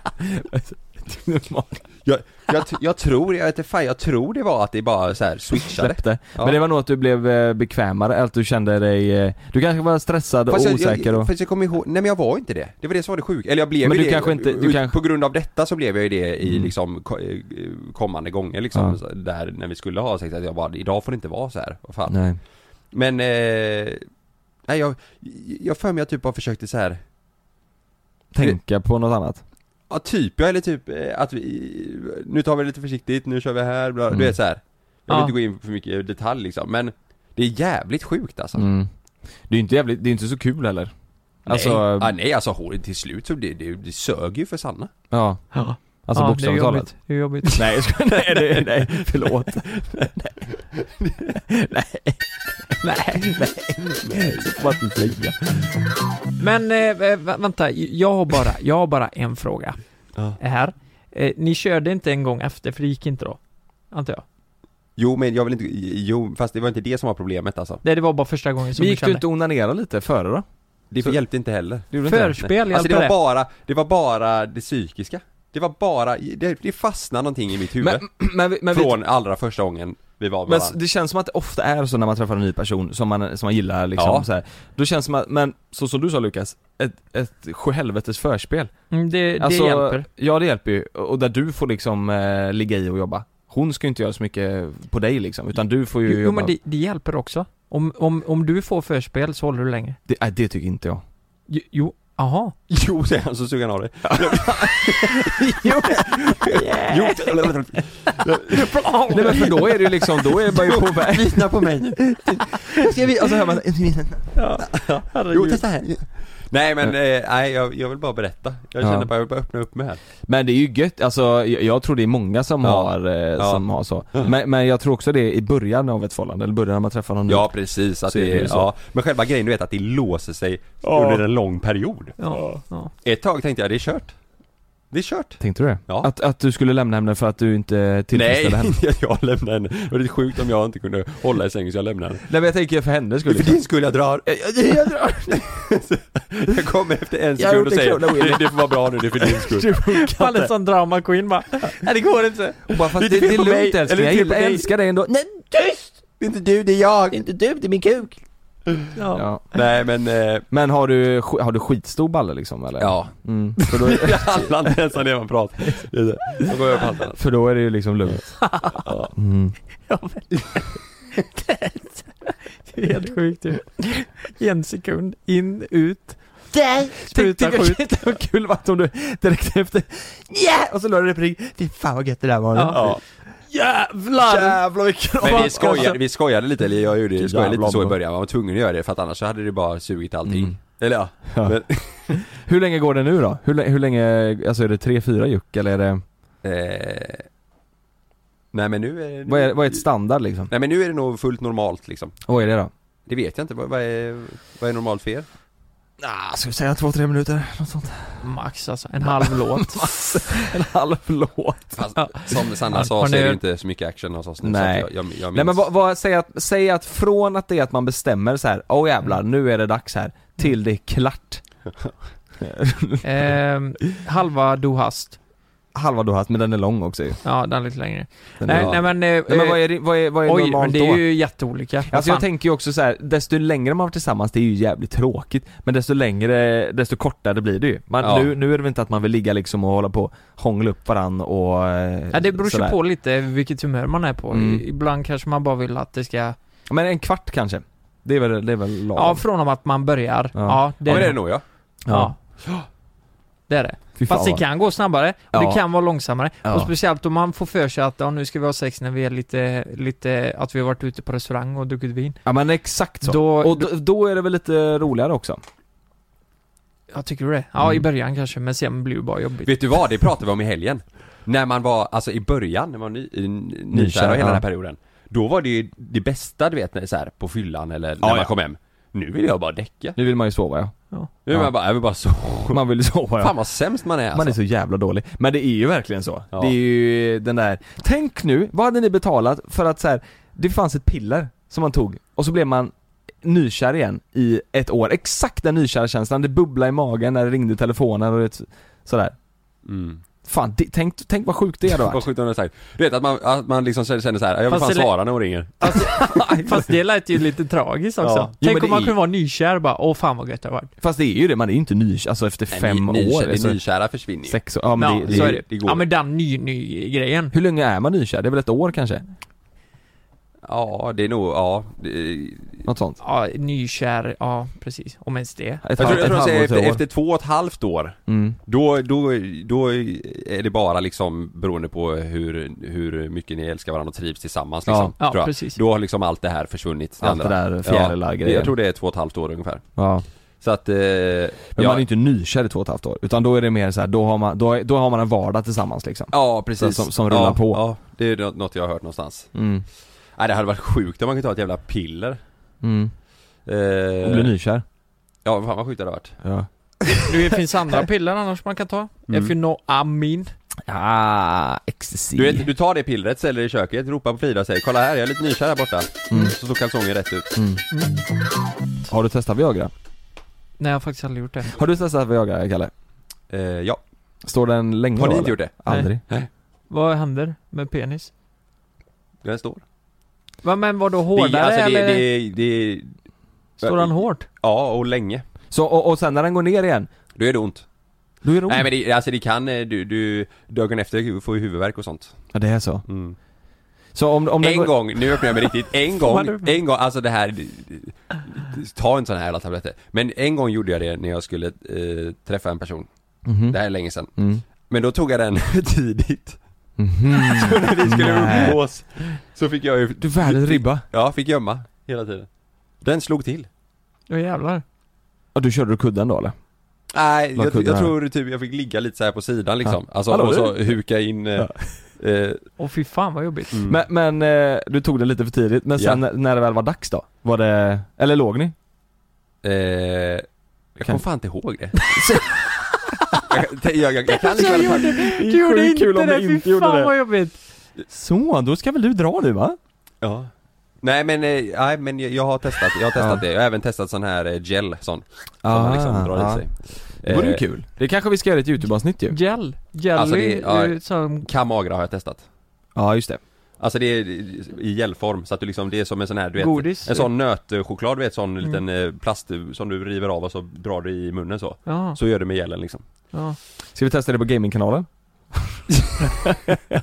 Speaker 2: jag, jag, t- jag tror, jag vet inte fan, jag tror det var att det bara så här switchade.
Speaker 3: släppte.
Speaker 2: Ja.
Speaker 3: Men det var nog att du blev eh, bekvämare, eller att du kände dig, eh, du kanske var stressad och
Speaker 2: Fast jag,
Speaker 3: osäker
Speaker 2: jag,
Speaker 3: och...
Speaker 2: fast jag kommer ihåg, nej men jag var inte det. Det var det som var det sjuka, eller jag blev
Speaker 3: Men
Speaker 2: ju
Speaker 3: du
Speaker 2: det.
Speaker 3: kanske inte- du
Speaker 2: Ut-
Speaker 3: kanske-
Speaker 2: På grund av detta så blev jag ju det i
Speaker 3: Mm.
Speaker 2: liksom ko- eh, kommande gånger liksom,
Speaker 3: Ja.
Speaker 2: så- där när vi skulle ha sex, att jag bara, idag får det inte vara så här. Vad fan.
Speaker 3: Nej.
Speaker 2: Men, eh, nej jag, jag för mig jag typ bara försökte så här.
Speaker 3: Tänka på något annat.
Speaker 2: ja typ, jag eller typ eh, att vi, nu tar vi det lite försiktigt, nu kör vi här, bla,
Speaker 3: Mm.
Speaker 2: du vet så här. Jag
Speaker 3: Ja.
Speaker 2: vill inte gå in för mycket i detalj liksom, men det är jävligt sjukt alltså.
Speaker 3: Mm. Det är ju inte jävligt, det är inte så kul heller. Alltså,
Speaker 2: nej. Ah, nej alltså hår- till slut så det, det, det sög ju för Sanna.
Speaker 3: ja.
Speaker 4: Ja.
Speaker 3: Alltså
Speaker 4: Ja,
Speaker 3: bokstavligt
Speaker 4: det är
Speaker 3: talat.
Speaker 4: jobbigt. Det är jobbigt.
Speaker 3: Nej, jag ska, nej, nej, nej, förlåt. Nej. Nej. Nej, nej. Så får man inte säga.
Speaker 4: Men eh, vä- vänta, jag har bara, jag har bara en fråga.
Speaker 2: Ja.
Speaker 4: Här. Eh, ni körde inte en gång efter, för det gick inte då? Antar jag?
Speaker 2: Jo men jag vill inte, jo fast det var inte det som var problemet alltså.
Speaker 4: Nej, det var bara första gången som
Speaker 2: Men
Speaker 4: vi
Speaker 2: gick du
Speaker 4: kände.
Speaker 2: inte
Speaker 3: onanera lite före då?
Speaker 2: Det hjälpte inte heller.
Speaker 3: Det gjorde
Speaker 4: inte det? Förspel
Speaker 2: Nej.
Speaker 4: hjälpte
Speaker 2: Alltså det var
Speaker 4: det.
Speaker 2: bara, det var bara det psykiska. Det var bara, det, det fastnade någonting i mitt huvud.
Speaker 3: Men, men, men
Speaker 2: Från allra första gången vi var med
Speaker 3: Men
Speaker 2: varandra.
Speaker 3: det känns som att det ofta är så när man träffar en ny person som man, som man gillar liksom
Speaker 2: Ja.
Speaker 3: så här. Då känns det som att, men så som du sa Lukas, ett, ett sjuhelvetes förspel Alltså,
Speaker 4: Mm, det, det hjälper.
Speaker 3: Ja det hjälper ju, och där du får liksom eh, ligga i och jobba Hon ska ju inte göra så mycket på dig liksom, utan du får ju
Speaker 4: Jo, jo
Speaker 3: jobba
Speaker 4: men det, det hjälper också. Om, om, om du får förspel så håller du länge.
Speaker 3: Det, nej, det tycker inte jag
Speaker 4: Jo, aha.
Speaker 2: Jo, säger han så suger han av dig. jo! Jo!
Speaker 3: Nej men för då är det ju liksom, då är man ju på väg. Lyssna på mig Ska vi, och så hör man
Speaker 2: Jo, testa här. Nej men, eh, nej jag, jag vill bara berätta. Jag
Speaker 3: Ja.
Speaker 2: känner bara, jag vill bara öppna upp mig här.
Speaker 3: Men det är ju gött, alltså jag, jag tror det är många som
Speaker 2: Ja.
Speaker 3: har, eh,
Speaker 2: Ja.
Speaker 3: som har så. Men, men jag tror också det är i början av ett förhållande, eller början när man träffar någon
Speaker 2: Ja
Speaker 3: ny.
Speaker 2: precis, att
Speaker 3: Mm. Så är
Speaker 2: det,
Speaker 3: det ju så.
Speaker 2: ja. Men själva grejen du vet att det låser sig
Speaker 3: Ja.
Speaker 2: under en lång period.
Speaker 4: Ja. ja.
Speaker 2: Ett tag tänkte jag, det är kört. Det är kört.
Speaker 3: Tänkte du det?
Speaker 2: Ja.
Speaker 3: Att, att du skulle lämna henne för att du inte
Speaker 2: Nej,
Speaker 3: tillfredsställde henne?
Speaker 2: jag lämnar henne. Det var lite sjukt om jag inte kunde hålla i sängen så jag lämnade henne.
Speaker 3: Nej men jag tänker för hennes skull.
Speaker 2: För din skull jag drar. Jag, jag, jag drar. jag kommer efter en
Speaker 4: Jag har
Speaker 2: sekund
Speaker 4: gjort
Speaker 2: och
Speaker 4: en
Speaker 2: säger
Speaker 4: krona, Willy.
Speaker 2: det, det får vara bra nu, det är för din skull.
Speaker 4: Fan en sån drama queen bara. Nej det går inte.
Speaker 3: Bara för att det, det är lugnt älskling, jag gillar- älskar dig ändå. Nej,
Speaker 4: tyst!
Speaker 2: Det är inte du, det är jag. Det är
Speaker 4: inte du, det är min kuk. Ja.
Speaker 3: Ja.
Speaker 2: Nej men... eh,
Speaker 3: Men har du, sk- har du skitstor balle liksom eller?
Speaker 2: Ja.
Speaker 3: Mm.
Speaker 2: För då jag handlar inte ens om det man pratar. Det är det. Då går jag upp halsen.
Speaker 3: För då är det ju liksom lugnt.
Speaker 2: Ja.
Speaker 3: Mm.
Speaker 4: Det är helt sjukt ju. En sekund, in, ut.
Speaker 3: Där!
Speaker 4: Spruta, skjut.
Speaker 3: Det var kul vart om du direkt efter yeah! Och så la du replik. Fy fan vad gött det där var.
Speaker 2: Ja.
Speaker 4: Jävlar!
Speaker 3: Jävlar vilken
Speaker 2: Men vi skojade, vi skojade lite, eller jag gjorde det, skojade lite
Speaker 3: Jävlar.
Speaker 2: så i början, man var tvungen att göra det för att annars så hade det bara sugit allting. Eller ja. Men,
Speaker 3: Hur länge går det nu då? Hur, lä- hur länge, alltså är det tre fyra juck eller är det,
Speaker 2: eh, nej men nu är det...
Speaker 3: vad är, vad är ett standard liksom?
Speaker 2: Nej men nu är det nog fullt normalt liksom.
Speaker 3: Vad är det då?
Speaker 2: Det vet jag inte, vad, vad, är, vad är normalt för er?
Speaker 3: Ah, ska vi säga två, tre minuter? Något sånt.
Speaker 4: Max alltså, en halv låt.
Speaker 3: en halv låt.
Speaker 2: Fast, som Sanna
Speaker 4: Ja,
Speaker 2: sa
Speaker 4: har
Speaker 2: så
Speaker 4: ni-
Speaker 2: är det ju inte så mycket action hos oss nu,
Speaker 3: Nej.
Speaker 2: Så att jag, jag, jag
Speaker 3: Nej men
Speaker 2: minns.
Speaker 3: vad, vad säg, att, säg att från att det är att man bestämmer så här,
Speaker 4: Mm.
Speaker 3: åh jävlar nu är det dags här, till det är klart.
Speaker 4: Ehm, halva Do Hast.
Speaker 3: Halva du har
Speaker 4: alltså,
Speaker 3: haft, men den är lång också ju.
Speaker 4: Ja, den är lite längre.
Speaker 3: Den
Speaker 4: nej,
Speaker 3: är-
Speaker 4: nej men... eh,
Speaker 3: Nej, men vad är, det- vad är, vad är
Speaker 4: oj,
Speaker 3: normalt
Speaker 4: men det är
Speaker 3: då?
Speaker 4: ju jätteolika. Vad
Speaker 3: Alltså jag
Speaker 4: fan.
Speaker 3: tänker ju också så här, desto längre man har varit tillsammans, det är ju jävligt tråkigt. Men desto längre, desto kortare blir det ju. Man,
Speaker 4: Ja.
Speaker 3: nu, nu är det väl inte att man vill ligga liksom och hålla på och hångla upp varann och eh,
Speaker 4: Ja, det beror ju
Speaker 3: sådär.
Speaker 4: på lite vilket humör man är på.
Speaker 3: Mm.
Speaker 4: Ibland kanske man bara vill att det ska...
Speaker 3: Men en kvart kanske? Det är väl, det är väl lagom?
Speaker 4: Ja, från om att man börjar. Ja,
Speaker 2: Ja, men det är det nog, ja.
Speaker 4: Ja. Det är det.
Speaker 3: Fy fan
Speaker 4: Fast det
Speaker 3: vad-
Speaker 4: kan gå snabbare och
Speaker 3: Ja.
Speaker 4: det kan vara långsammare.
Speaker 3: Ja.
Speaker 4: Och speciellt om man får för sig att ja, nu ska vi ha sex när vi är lite, lite, att vi har varit ute på restaurang och druckit vin.
Speaker 3: Ja men exakt så.
Speaker 4: Då-
Speaker 3: och då, då är det väl lite roligare också?
Speaker 4: Ja, tycker du det? Ja, i början kanske, men sen blir det bara jobbigt.
Speaker 2: Mm. Vet du vad, det pratade vi om i helgen. När man var, alltså i början, när man var ny, i- nykär
Speaker 3: Nykär,
Speaker 2: och hela
Speaker 3: ja.
Speaker 2: den här perioden. Då var det ju det bästa du vet, när, så här, på fyllan eller när
Speaker 3: Ja,
Speaker 2: man
Speaker 3: ja.
Speaker 2: kom hem. Nu vill jag bara däcka.
Speaker 3: Nu vill man ju sova ja.
Speaker 2: Nu vill
Speaker 3: Ja.
Speaker 2: man bara, jag vill bara sova.
Speaker 3: Man vill sova ja.
Speaker 2: Fan vad sämst man är alltså.
Speaker 3: Man är så jävla dålig. Men det är ju verkligen så. Det är ju den där, tänk nu, vad hade ni betalat för att så här, det fanns ett piller som man tog och så blev man nykär igen i ett år. Exakt den nykärkänslan, det bubblade i magen när det ringde i telefonen och det, sådär.
Speaker 2: Mm.
Speaker 3: Fan, det, tänk, tänk vad sjukt det hade
Speaker 2: Vad
Speaker 3: varit.
Speaker 2: sjukt om det är sagt. Du vet att man, att man liksom känner så här, jag vill
Speaker 4: Fast
Speaker 2: fan
Speaker 4: det lä-
Speaker 2: svara när hon ringer.
Speaker 4: Fast det lät ju lite tragiskt också.
Speaker 2: Ja. Jo, men
Speaker 4: Tänk
Speaker 2: det
Speaker 4: om man
Speaker 2: är-
Speaker 4: kunde vara nykär och bara, åh fan vad gött det har varit.
Speaker 3: Fast det är ju det, man är ju inte nykär, alltså efter
Speaker 2: Nej,
Speaker 3: fem
Speaker 2: ny-
Speaker 3: år.
Speaker 2: nykär-
Speaker 3: alltså,
Speaker 2: Det nykära försvinner ju.
Speaker 3: sex år. Ja, men
Speaker 4: Ja,
Speaker 3: det,
Speaker 4: så
Speaker 3: det,
Speaker 4: är det.
Speaker 2: det går.
Speaker 4: Ja men den ny-ny-grejen.
Speaker 3: Hur länge är man nykär? Det är väl ett år kanske?
Speaker 2: Ja, det är nog, ja. Det,
Speaker 3: Något sånt.
Speaker 4: Ja, nykär, ja precis. Om ens det.
Speaker 2: jag tror, jag tror de säger efter, efter två och ett halvt år,
Speaker 3: Mm.
Speaker 2: då, då, då är det bara liksom beroende på hur, hur mycket ni älskar varandra och trivs tillsammans
Speaker 3: Ja.
Speaker 2: liksom,
Speaker 3: Ja,
Speaker 2: tror jag.
Speaker 3: precis.
Speaker 2: Då har liksom allt det här försvunnit.
Speaker 3: Allt det där fjärilar grejer.
Speaker 2: Jag tror det är två och ett halvt år ungefär.
Speaker 3: Ja.
Speaker 2: Så att, eh,
Speaker 3: Men
Speaker 2: ja,
Speaker 3: man är inte nykär i två och ett halvt år, utan då är det mer så här, då har man, då, är- då har man en vardag tillsammans liksom.
Speaker 2: ja precis.
Speaker 3: Som, som rullar
Speaker 2: ja,
Speaker 3: på.
Speaker 2: Ja, det är nå- något jag har hört någonstans.
Speaker 3: Mm.
Speaker 2: Nej det hade varit sjukt om man kunde ta ett jävla piller.
Speaker 3: Mm.
Speaker 2: Eh,
Speaker 3: Och blir nykär.
Speaker 2: Ja, fan vad sjukt det hade varit.
Speaker 3: Ja.
Speaker 4: Det finns andra piller annars man kan ta.
Speaker 2: Mm.
Speaker 4: Efynoamin.
Speaker 3: Ah, ecstasy.
Speaker 2: Du, vet, du tar det pillret, ställer det i köket, ropar på Frida och säger 'Kolla här, jag är lite nykär här borta' Så står kalsongen rätt ut.
Speaker 3: Mm. Har du testat Viagra?
Speaker 4: Nej jag har faktiskt aldrig gjort det.
Speaker 3: Har du testat Viagra, Kalle?
Speaker 2: Eh, ja.
Speaker 3: Står den länge
Speaker 2: Har ni
Speaker 3: då,
Speaker 2: inte
Speaker 3: eller?
Speaker 2: gjort det?
Speaker 3: Aldrig.
Speaker 2: Nej.
Speaker 4: Vad händer med penis?
Speaker 2: Den står.
Speaker 4: Va, men vadå hårdare
Speaker 2: det, alltså, det,
Speaker 4: eller?
Speaker 2: det, det,
Speaker 4: Står den hårt?
Speaker 2: Ja, och länge.
Speaker 3: Så, och, och sen när den går ner igen?
Speaker 2: Då är det ont.
Speaker 3: Då är det ont?
Speaker 2: Nej men det, alltså det kan, eh, du, du, dagen efter får du huvudvärk och sånt. Mm.
Speaker 3: Ja, det är så. Så om, om den
Speaker 2: en
Speaker 3: går...
Speaker 2: gång, nu öppnar jag mig riktigt, en
Speaker 3: Får man
Speaker 2: gång,
Speaker 3: upp?
Speaker 2: en gång, alltså det här ta inte sådana här jävla tabletter. Men en gång gjorde jag det när jag skulle eh, träffa en person.
Speaker 3: Mhm.
Speaker 2: Det här är länge sedan.
Speaker 3: Mm.
Speaker 2: Men då tog jag den tidigt.
Speaker 3: mhm.
Speaker 2: Så när vi skulle
Speaker 3: Nej.
Speaker 2: umgås så fick jag ju... typ-
Speaker 3: Du världens ribba.
Speaker 2: Ja, fick gömma hela tiden. Den slog till.
Speaker 4: Ja jävlar.
Speaker 3: Ja, du körde du kudden då eller?
Speaker 2: Nej,
Speaker 3: Vad
Speaker 2: jag,
Speaker 3: kunde
Speaker 2: jag
Speaker 3: han?
Speaker 2: tror typ jag fick ligga lite så här på sidan liksom.
Speaker 3: Ja.
Speaker 2: Alltså
Speaker 3: Hallå,
Speaker 2: och så
Speaker 3: du?
Speaker 2: huka in... Eh, eh,
Speaker 4: Åh fy fan vad jobbigt.
Speaker 2: Mm.
Speaker 3: Men, men eh, du tog det lite för tidigt, men sen
Speaker 2: Ja.
Speaker 3: när- när det väl var dags då? Var det, eller låg ni?
Speaker 2: eh, jag kommer fan inte ihåg det. jag, jag, jag, jag kan
Speaker 4: Så jag gjorde,
Speaker 3: Det är
Speaker 4: du gjorde
Speaker 3: sjukt
Speaker 4: inte
Speaker 3: kul om
Speaker 4: det,
Speaker 3: du inte
Speaker 4: fy
Speaker 3: gjorde
Speaker 4: fan
Speaker 3: det.
Speaker 4: vad jobbigt.
Speaker 3: Så, då ska väl du dra nu va?
Speaker 2: Ja. Nej men, eh, nej men jag, jag har testat, jag har testat det. Jag har även testat sån här eh, gel, sån. Som man liksom drar i sig.
Speaker 3: Ah, Det vore ju
Speaker 2: Eh,
Speaker 3: kul. Det kanske vi ska göra ett YouTube-avsnitt ju.
Speaker 4: Gel. Gel
Speaker 2: Alltså det,
Speaker 4: är
Speaker 2: är-
Speaker 4: ju
Speaker 2: ja,
Speaker 4: som...
Speaker 2: Kamagra har jag testat.
Speaker 3: Ja, just det.
Speaker 2: Alltså det är i gelform, så att du liksom, det är som en sån här, du vet,
Speaker 4: Godis.
Speaker 2: en sån nötchoklad, du vet, sån
Speaker 4: Mm.
Speaker 2: liten eh, plast eh, som du river av och så drar du i munnen så.
Speaker 4: Ja.
Speaker 2: Så gör du med gelen liksom.
Speaker 4: Ja.
Speaker 3: Ska vi testa det på gamingkanalen?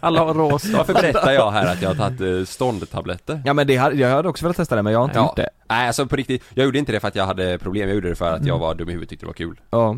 Speaker 4: Alla har rås.
Speaker 2: Varför berättar jag här att jag har tagit eh, ståndtabletter?
Speaker 3: Ja men det hade, jag hade också velat testa det men jag har inte gjort det.
Speaker 2: Nej alltså på riktigt, jag gjorde inte det för att jag hade problem, jag gjorde det för att jag
Speaker 3: Mm.
Speaker 2: var dum i huvudet och tyckte det var kul.
Speaker 3: Ja.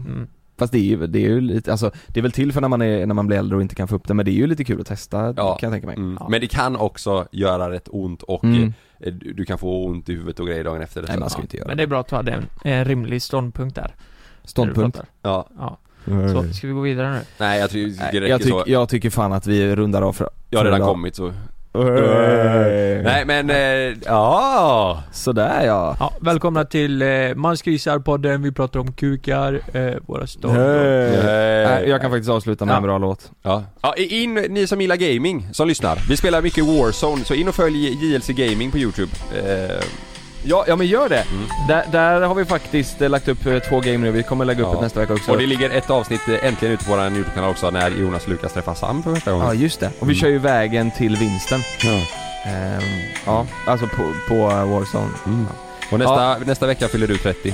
Speaker 3: Fast det är ju, det är ju lite, alltså det är väl till för när man är, när man blir äldre och inte kan få upp det men det är ju lite kul att testa kan jag tänka mig.
Speaker 2: Mm. Men det kan också göra rätt ont och
Speaker 3: Mm.
Speaker 2: eh, du du kan få ont i huvudet och grejer dagen efter.
Speaker 3: Nej, man ska ju inte göra
Speaker 4: Men det är bra att du hade en, en rimlig ståndpunkt där.
Speaker 3: Ståndpunkt.
Speaker 2: Ja.
Speaker 4: ja.
Speaker 3: Mm.
Speaker 4: Så, ska vi gå vidare nu?
Speaker 2: Nej jag tror det räcker
Speaker 3: jag, tyck,
Speaker 2: så.
Speaker 3: jag tycker fan att vi rundar av för
Speaker 2: Jag har
Speaker 3: för
Speaker 2: redan
Speaker 3: idag.
Speaker 2: kommit så.
Speaker 3: Öh.
Speaker 2: Nej men, eh, ja.
Speaker 3: Sådär ja.
Speaker 4: Ja, välkomna till eh, Mansgrisar-podden, vi pratar om kukar, eh, våra stånd.
Speaker 3: Nej.
Speaker 2: Nej.
Speaker 3: Jag kan faktiskt avsluta med en bra låt.
Speaker 2: Ja. ja, in, ni som gillar gaming, som lyssnar. Vi spelar mycket Warzone, så in och följ JLC Gaming på Youtube. Eh,
Speaker 3: Ja, ja men gör det! Där, där har vi faktiskt eh, lagt upp eh, två game nu, vi kommer lägga upp
Speaker 2: ja.
Speaker 3: ett nästa vecka också.
Speaker 2: Och det ligger ett avsnitt eh, äntligen ute på vår Youtube-kanal också när Jonas och Lukas träffar Sam för första gången.
Speaker 3: Ja just det. Och vi
Speaker 2: Mm.
Speaker 3: kör ju vägen till vinsten.
Speaker 2: Ja.
Speaker 3: Ehm, ja, alltså på, på Warzone.
Speaker 2: Mm. Och nästa, nästa vecka fyller du 30.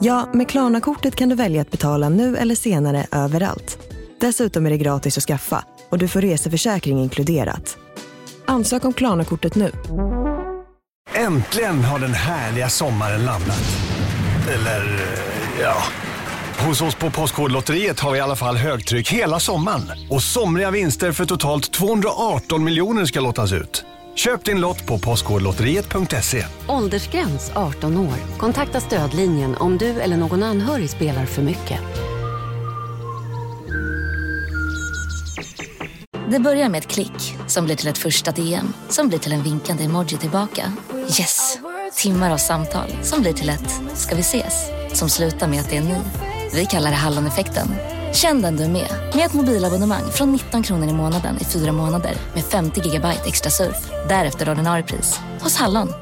Speaker 1: Ja, med Klarna-kortet kan du välja att betala nu eller senare överallt. Dessutom är det gratis att skaffa och du får reseförsäkring inkluderat. Ansök om Klarna-kortet nu.
Speaker 10: Äntligen har den härliga sommaren landat. Eller, eh, ja. Hos oss på Postkodlotteriet har vi i alla fall högtryck hela sommaren. Och somriga vinster för totalt 218 miljoner ska lottas ut. Köp din lott på postkodlotteriet.se.
Speaker 11: Åldersgräns 18 år. Kontakta stödlinjen om du eller någon anhörig spelar för mycket.
Speaker 12: Det börjar med ett klick som blir till ett första DM som blir till en vinkande emoji tillbaka. Yes! Timmar av samtal som blir till ett “ska vi ses?” som slutar med att det är ni. Vi kallar det Halloneffekten. Känn den du är med, med ett mobilabonnemang från 19 kronor i månaden i fyra månader med 50 gigabyte extra surf. Därefter ordinarie pris, hos Hallon.